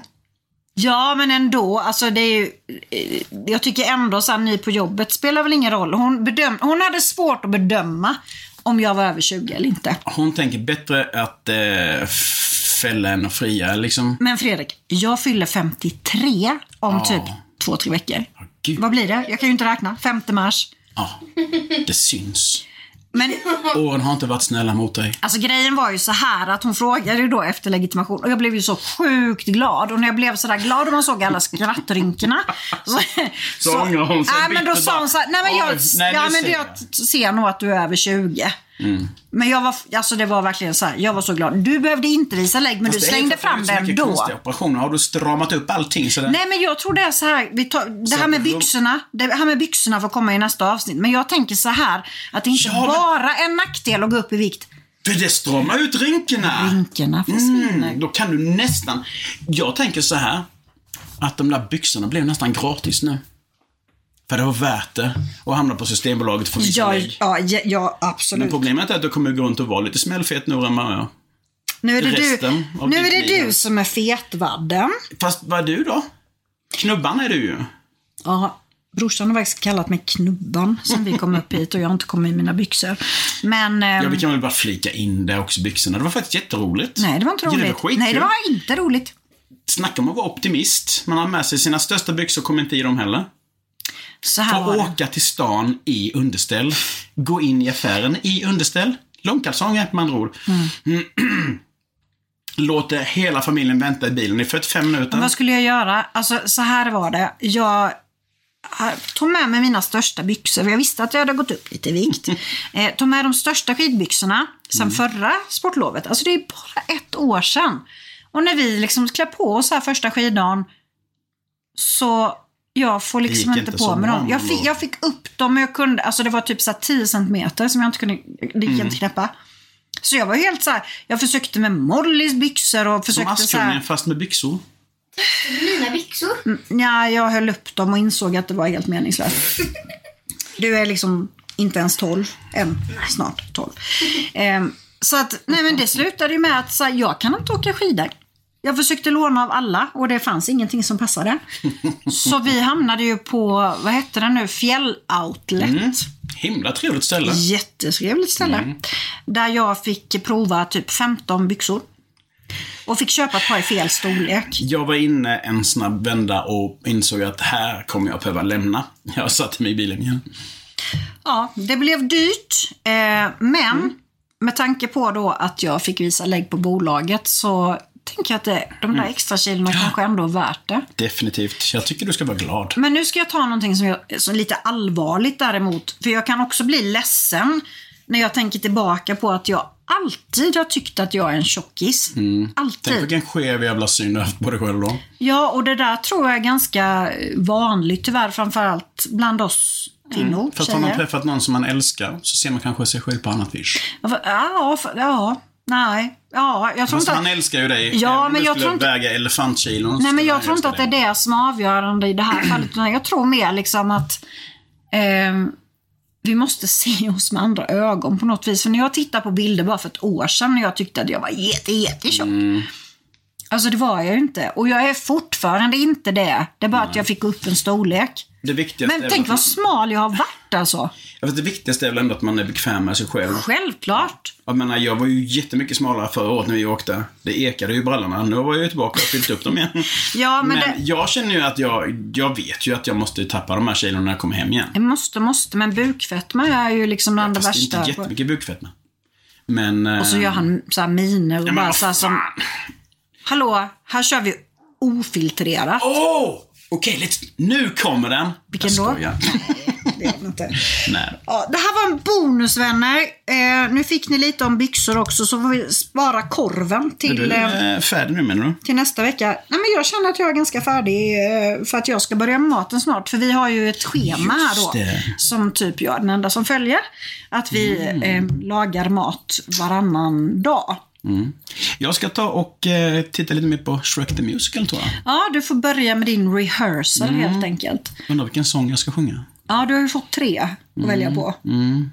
[SPEAKER 1] Ja, men ändå. Alltså det är ju, eh, jag tycker ändå så här, ny på jobbet spelar väl ingen roll. Hon, bedöm, hon hade svårt att bedöma om jag var över 20 eller inte.
[SPEAKER 2] Hon tänker bättre att eh, fälla än att fria liksom.
[SPEAKER 1] Men Fredrik, jag fyller 53 om typ två, tre veckor.
[SPEAKER 2] Gud,
[SPEAKER 1] Vad blir det? Jag kan ju inte räkna. 5 mars.
[SPEAKER 2] ja. Det syns.
[SPEAKER 1] Men
[SPEAKER 2] Åren har inte varit snälla mot dig.
[SPEAKER 1] Alltså grejen var ju så här att hon frågade ju då efter legitimation och jag blev ju så sjukt glad. Och när jag blev sådär glad och man såg alla skrattrynkorna. Så,
[SPEAKER 2] Så ångrar hon sig
[SPEAKER 1] Nej men då
[SPEAKER 2] bittert
[SPEAKER 1] sa
[SPEAKER 2] bara,
[SPEAKER 1] hon såhär, nej men
[SPEAKER 2] "Oj,
[SPEAKER 1] jag,
[SPEAKER 2] nej,
[SPEAKER 1] ja,
[SPEAKER 2] nu
[SPEAKER 1] men
[SPEAKER 2] ser Mm.
[SPEAKER 1] jag t- ser nog att du är över 20. Men jag var, alltså det var verkligen så här, jag var så glad. Du behövde inte visa lägg men
[SPEAKER 2] Fast
[SPEAKER 1] du
[SPEAKER 2] det är
[SPEAKER 1] slängde
[SPEAKER 2] för fan
[SPEAKER 1] fram
[SPEAKER 2] så
[SPEAKER 1] det
[SPEAKER 2] mycket
[SPEAKER 1] ändå.
[SPEAKER 2] konstiga operationer. Har du stramat upp allting så det-
[SPEAKER 1] Nej men jag tror det är så här, vi tar, det här med
[SPEAKER 2] Så-
[SPEAKER 1] byxorna, det här med byxorna får komma i nästa avsnitt. Men jag tänker så här, att det inte
[SPEAKER 2] Ja, men-
[SPEAKER 1] bara är en nackdel att gå upp i vikt.
[SPEAKER 2] För det stramar ut rynkorna.
[SPEAKER 1] Rynkorna försvinner.
[SPEAKER 2] Mm, då kan du nästan... Jag tänker så här. Att de där byxorna blev nästan gratis nu. För det var värt det. Och hamna på Systembolaget och få visa
[SPEAKER 1] Ja,
[SPEAKER 2] lägg.
[SPEAKER 1] ja, ja, ja
[SPEAKER 2] Men
[SPEAKER 1] absolut.
[SPEAKER 2] problemet är att du kommer gå runt och vara lite smällfet nu än vad jag.
[SPEAKER 1] Nu är det, du,
[SPEAKER 2] resten av
[SPEAKER 1] nu
[SPEAKER 2] ditt
[SPEAKER 1] är det
[SPEAKER 2] liv.
[SPEAKER 1] du som är fetvadden.
[SPEAKER 2] Fast vad är du då? Knubban är du ju.
[SPEAKER 1] Ja, brorsan har faktiskt kallat mig Knubban sen vi kom upp hit och jag har inte kommit i mina byxor. Men... ehm,
[SPEAKER 2] Ja, vi kan väl bara flika in det också, byxorna. Det var faktiskt jätteroligt.
[SPEAKER 1] Nej, det var inte
[SPEAKER 2] Ja,
[SPEAKER 1] roligt.
[SPEAKER 2] det var skitkul.
[SPEAKER 1] Nej, det var inte roligt.
[SPEAKER 2] Snacka om att vara optimist. Man har med sig sina största byxor och kommer inte i dem heller.
[SPEAKER 1] Så här var
[SPEAKER 2] Få
[SPEAKER 1] det.
[SPEAKER 2] åka till stan i underställ. Gå in i affären i underställ. Långkalsonger med andra ord. Mm. Låter hela familjen vänta i bilen i 45
[SPEAKER 1] Men
[SPEAKER 2] minuter.
[SPEAKER 1] Typ, Vad skulle jag göra? Alltså, så här var det. Jag eh, tog med mig mina största byxor, för jag visste att jag hade gått upp lite i vikt. Eh, tog med de största skidbyxorna sen
[SPEAKER 2] Mm.
[SPEAKER 1] förra sportlovet. Alltså det är bara ett år sedan. Och när vi liksom klär på oss här första skiddagen Så jag får
[SPEAKER 2] gick
[SPEAKER 1] liksom
[SPEAKER 2] inte
[SPEAKER 1] inte
[SPEAKER 2] så
[SPEAKER 1] på med
[SPEAKER 2] bra
[SPEAKER 1] dem. Jag
[SPEAKER 2] någon
[SPEAKER 1] fick,
[SPEAKER 2] gång.
[SPEAKER 1] jag fick upp dem, men jag kunde, alltså det var typ så här 10 centimeter som jag inte kunde, det
[SPEAKER 2] Mm.
[SPEAKER 1] gick inte knäppa. Så jag var helt så här, jag försökte med Mollys byxor och
[SPEAKER 2] Som
[SPEAKER 1] försökte så
[SPEAKER 2] Askungen
[SPEAKER 1] här,
[SPEAKER 2] fast med byxor.
[SPEAKER 3] Mina byxor.
[SPEAKER 1] nej jag höll upp dem och insåg att det var helt meningslöst. Du är liksom inte ens 12 än, snart 12. Ehm, så att, nej men det slutade ju med att så här, jag kan inte åka skidor. Jag försökte låna av alla och det fanns ingenting som passade. Så vi hamnade ju på, vad hette det nu, fjälloutlet.
[SPEAKER 2] Himla trevligt ställe.
[SPEAKER 1] Jättetrevligt ställe. Där jag fick prova typ 15 byxor. Och fick köpa ett par i fel storlek.
[SPEAKER 2] Jag var inne en snabb vända och insåg att här kommer jag behöva lämna. Jag satte mig i bilen igen.
[SPEAKER 1] Ja, det blev dyrt. Eh, men
[SPEAKER 2] Mm.
[SPEAKER 1] med tanke på då att jag fick visa lägg på bolaget så tänker jag att det, de
[SPEAKER 2] Mm.
[SPEAKER 1] där extra kilona kanske ändå är värt det.
[SPEAKER 2] Definitivt. Jag tycker du ska vara glad.
[SPEAKER 1] Men nu ska jag ta någonting som, jag, som är lite allvarligt däremot. För jag kan också bli ledsen när jag tänker tillbaka på att jag alltid har tyckt att jag är en tjockis.
[SPEAKER 2] Mm. Tänk
[SPEAKER 1] Alltid.
[SPEAKER 2] vilken skev jävla syn du har haft på dig själv då.
[SPEAKER 1] Ja, och det där tror jag är ganska vanligt tyvärr, framförallt bland oss kvinnor,
[SPEAKER 2] Fast har man
[SPEAKER 1] tjejer.
[SPEAKER 2] träffat någon som man älskar så ser man kanske sig själv på annat vis.
[SPEAKER 1] Ja, för- ja, för- ja, nej. Ja, jag tror
[SPEAKER 2] Fast
[SPEAKER 1] inte
[SPEAKER 2] han
[SPEAKER 1] att,
[SPEAKER 2] älskar ju dig.
[SPEAKER 1] Ja,
[SPEAKER 2] Även om
[SPEAKER 1] men
[SPEAKER 2] du
[SPEAKER 1] jag
[SPEAKER 2] skulle
[SPEAKER 1] tror inte-
[SPEAKER 2] väga elefantkilon. så
[SPEAKER 1] nej, men
[SPEAKER 2] skulle
[SPEAKER 1] jag
[SPEAKER 2] han
[SPEAKER 1] tror inte
[SPEAKER 2] älska
[SPEAKER 1] att det är
[SPEAKER 2] dig.
[SPEAKER 1] det som är avgörande i det här fallet. utan Jag tror mer liksom att ehm, vi måste se oss med andra ögon på något vis. För när jag tittar på bilder bara för ett år sedan när jag tyckte att jag var jätte, jättetjock.
[SPEAKER 2] Mm.
[SPEAKER 1] Alltså det var jag ju inte. Och jag är fortfarande inte det. Det är bara att jag fick upp en storlek.
[SPEAKER 2] Det viktigaste,
[SPEAKER 1] Men
[SPEAKER 2] är
[SPEAKER 1] tänk
[SPEAKER 2] väl
[SPEAKER 1] vad
[SPEAKER 2] att,
[SPEAKER 1] smal jag har varit alltså.
[SPEAKER 2] Ja, fast det viktigaste är väl ändå att man är bekväm med sig själv.
[SPEAKER 1] Självklart.
[SPEAKER 2] Jag menar, jag var ju jättemycket smalare förra året när vi åkte. Det ekade ju i brallorna. Nu var jag ju tillbaka och fyllt upp dem igen.
[SPEAKER 1] Ja, men
[SPEAKER 2] men
[SPEAKER 1] det-
[SPEAKER 2] jag känner ju att jag, jag vet ju att jag måste tappa de här kilona när jag kommer hem igen.
[SPEAKER 1] Jag måste, måste, men bukfetma är ju liksom bland det
[SPEAKER 2] Fast det är
[SPEAKER 1] värsta.
[SPEAKER 2] inte jättemycket bukfetma. Men... eh,
[SPEAKER 1] Och så gör han så här miner och
[SPEAKER 2] Ja, men
[SPEAKER 1] bara
[SPEAKER 2] vad
[SPEAKER 1] så här som,
[SPEAKER 2] fan.
[SPEAKER 1] hallå, här kör vi ofiltrerat.
[SPEAKER 2] Åh! Okej, lite... nu kommer den!
[SPEAKER 1] Vilken
[SPEAKER 2] jag
[SPEAKER 1] då?
[SPEAKER 2] skojar.
[SPEAKER 1] Det vet jag inte.
[SPEAKER 2] Nej.
[SPEAKER 1] Ja, det här var en bonus vänner. Eh, nu fick ni lite om byxor också så får vi spara korven
[SPEAKER 2] Är
[SPEAKER 1] till,
[SPEAKER 2] du
[SPEAKER 1] eh,
[SPEAKER 2] eh, färdig nu menar du?
[SPEAKER 1] till nästa vecka. Nej, men jag känner att jag är ganska färdig eh, för att jag ska börja med maten snart. För vi har ju ett schema här
[SPEAKER 2] Just
[SPEAKER 1] då.
[SPEAKER 2] det. Mm.
[SPEAKER 1] Som typ jag är den enda som följer. Att vi eh, lagar mat varannan dag.
[SPEAKER 2] Jag ska ta och eh, titta lite mer på Shrek the Musical tror jag.
[SPEAKER 1] Ja, du får börja med din rehearsal
[SPEAKER 2] Mm.
[SPEAKER 1] helt enkelt.
[SPEAKER 2] Undrar vilken sång jag ska sjunga.
[SPEAKER 1] Ja, du har ju fått tre att välja på. Det,
[SPEAKER 2] Mm.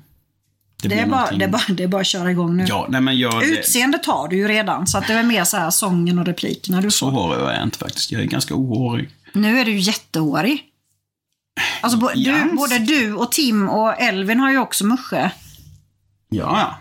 [SPEAKER 2] blir
[SPEAKER 1] är bara,
[SPEAKER 2] någonting.
[SPEAKER 1] det, är bara, det är bara att köra igång nu.
[SPEAKER 2] Ja, nej men jag... det-
[SPEAKER 1] Utseende tar du ju redan, så att det är mer så här sången och replikerna du
[SPEAKER 2] Så
[SPEAKER 1] får.
[SPEAKER 2] hårig var jag inte faktiskt. Jag är ganska ohårig.
[SPEAKER 1] Nu är du jättehårig. Alltså, bo,
[SPEAKER 2] Yes.
[SPEAKER 1] du, både du och Tim och Elvin har ju också musche.
[SPEAKER 2] Ja, ja.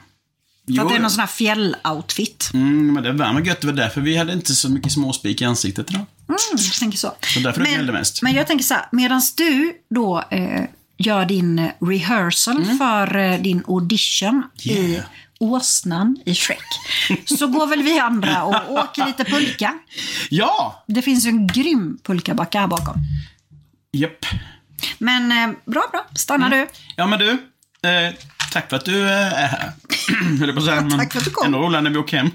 [SPEAKER 1] För
[SPEAKER 2] Jo,
[SPEAKER 1] att det är någon sån här fjälloutfit.
[SPEAKER 2] mm, men det värmer gött. Det var därför vi hade inte så mycket småspik i ansiktet idag.
[SPEAKER 1] Mm, jag tänker så.
[SPEAKER 2] Det är därför det gnällde mest.
[SPEAKER 1] Men jag tänker så här, medan du då eh, gör din eh, rehearsal för eh, din audition i
[SPEAKER 2] Mm. Yeah.
[SPEAKER 1] åsnan i Shrek, så går väl vi andra och åker lite pulka.
[SPEAKER 2] Ja!
[SPEAKER 1] Det finns ju en grym pulkabacke här bakom.
[SPEAKER 2] Japp.
[SPEAKER 1] Men eh, bra, bra. Stannar du.
[SPEAKER 2] Ja, men du. Eh, tack för att du eh, är här. Höll jag på att säga. men
[SPEAKER 1] Tack för att du kom.
[SPEAKER 2] Ändå roligare när vi åker hem.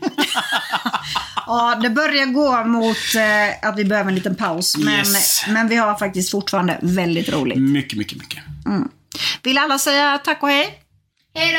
[SPEAKER 1] Ja, det börjar gå mot eh, att vi behöver en liten paus. Men,
[SPEAKER 2] Yes. Mm.
[SPEAKER 1] men vi har faktiskt fortfarande väldigt roligt.
[SPEAKER 2] mycket, mycket, mycket.
[SPEAKER 1] Vill alla säga tack och hej?
[SPEAKER 3] Hej då!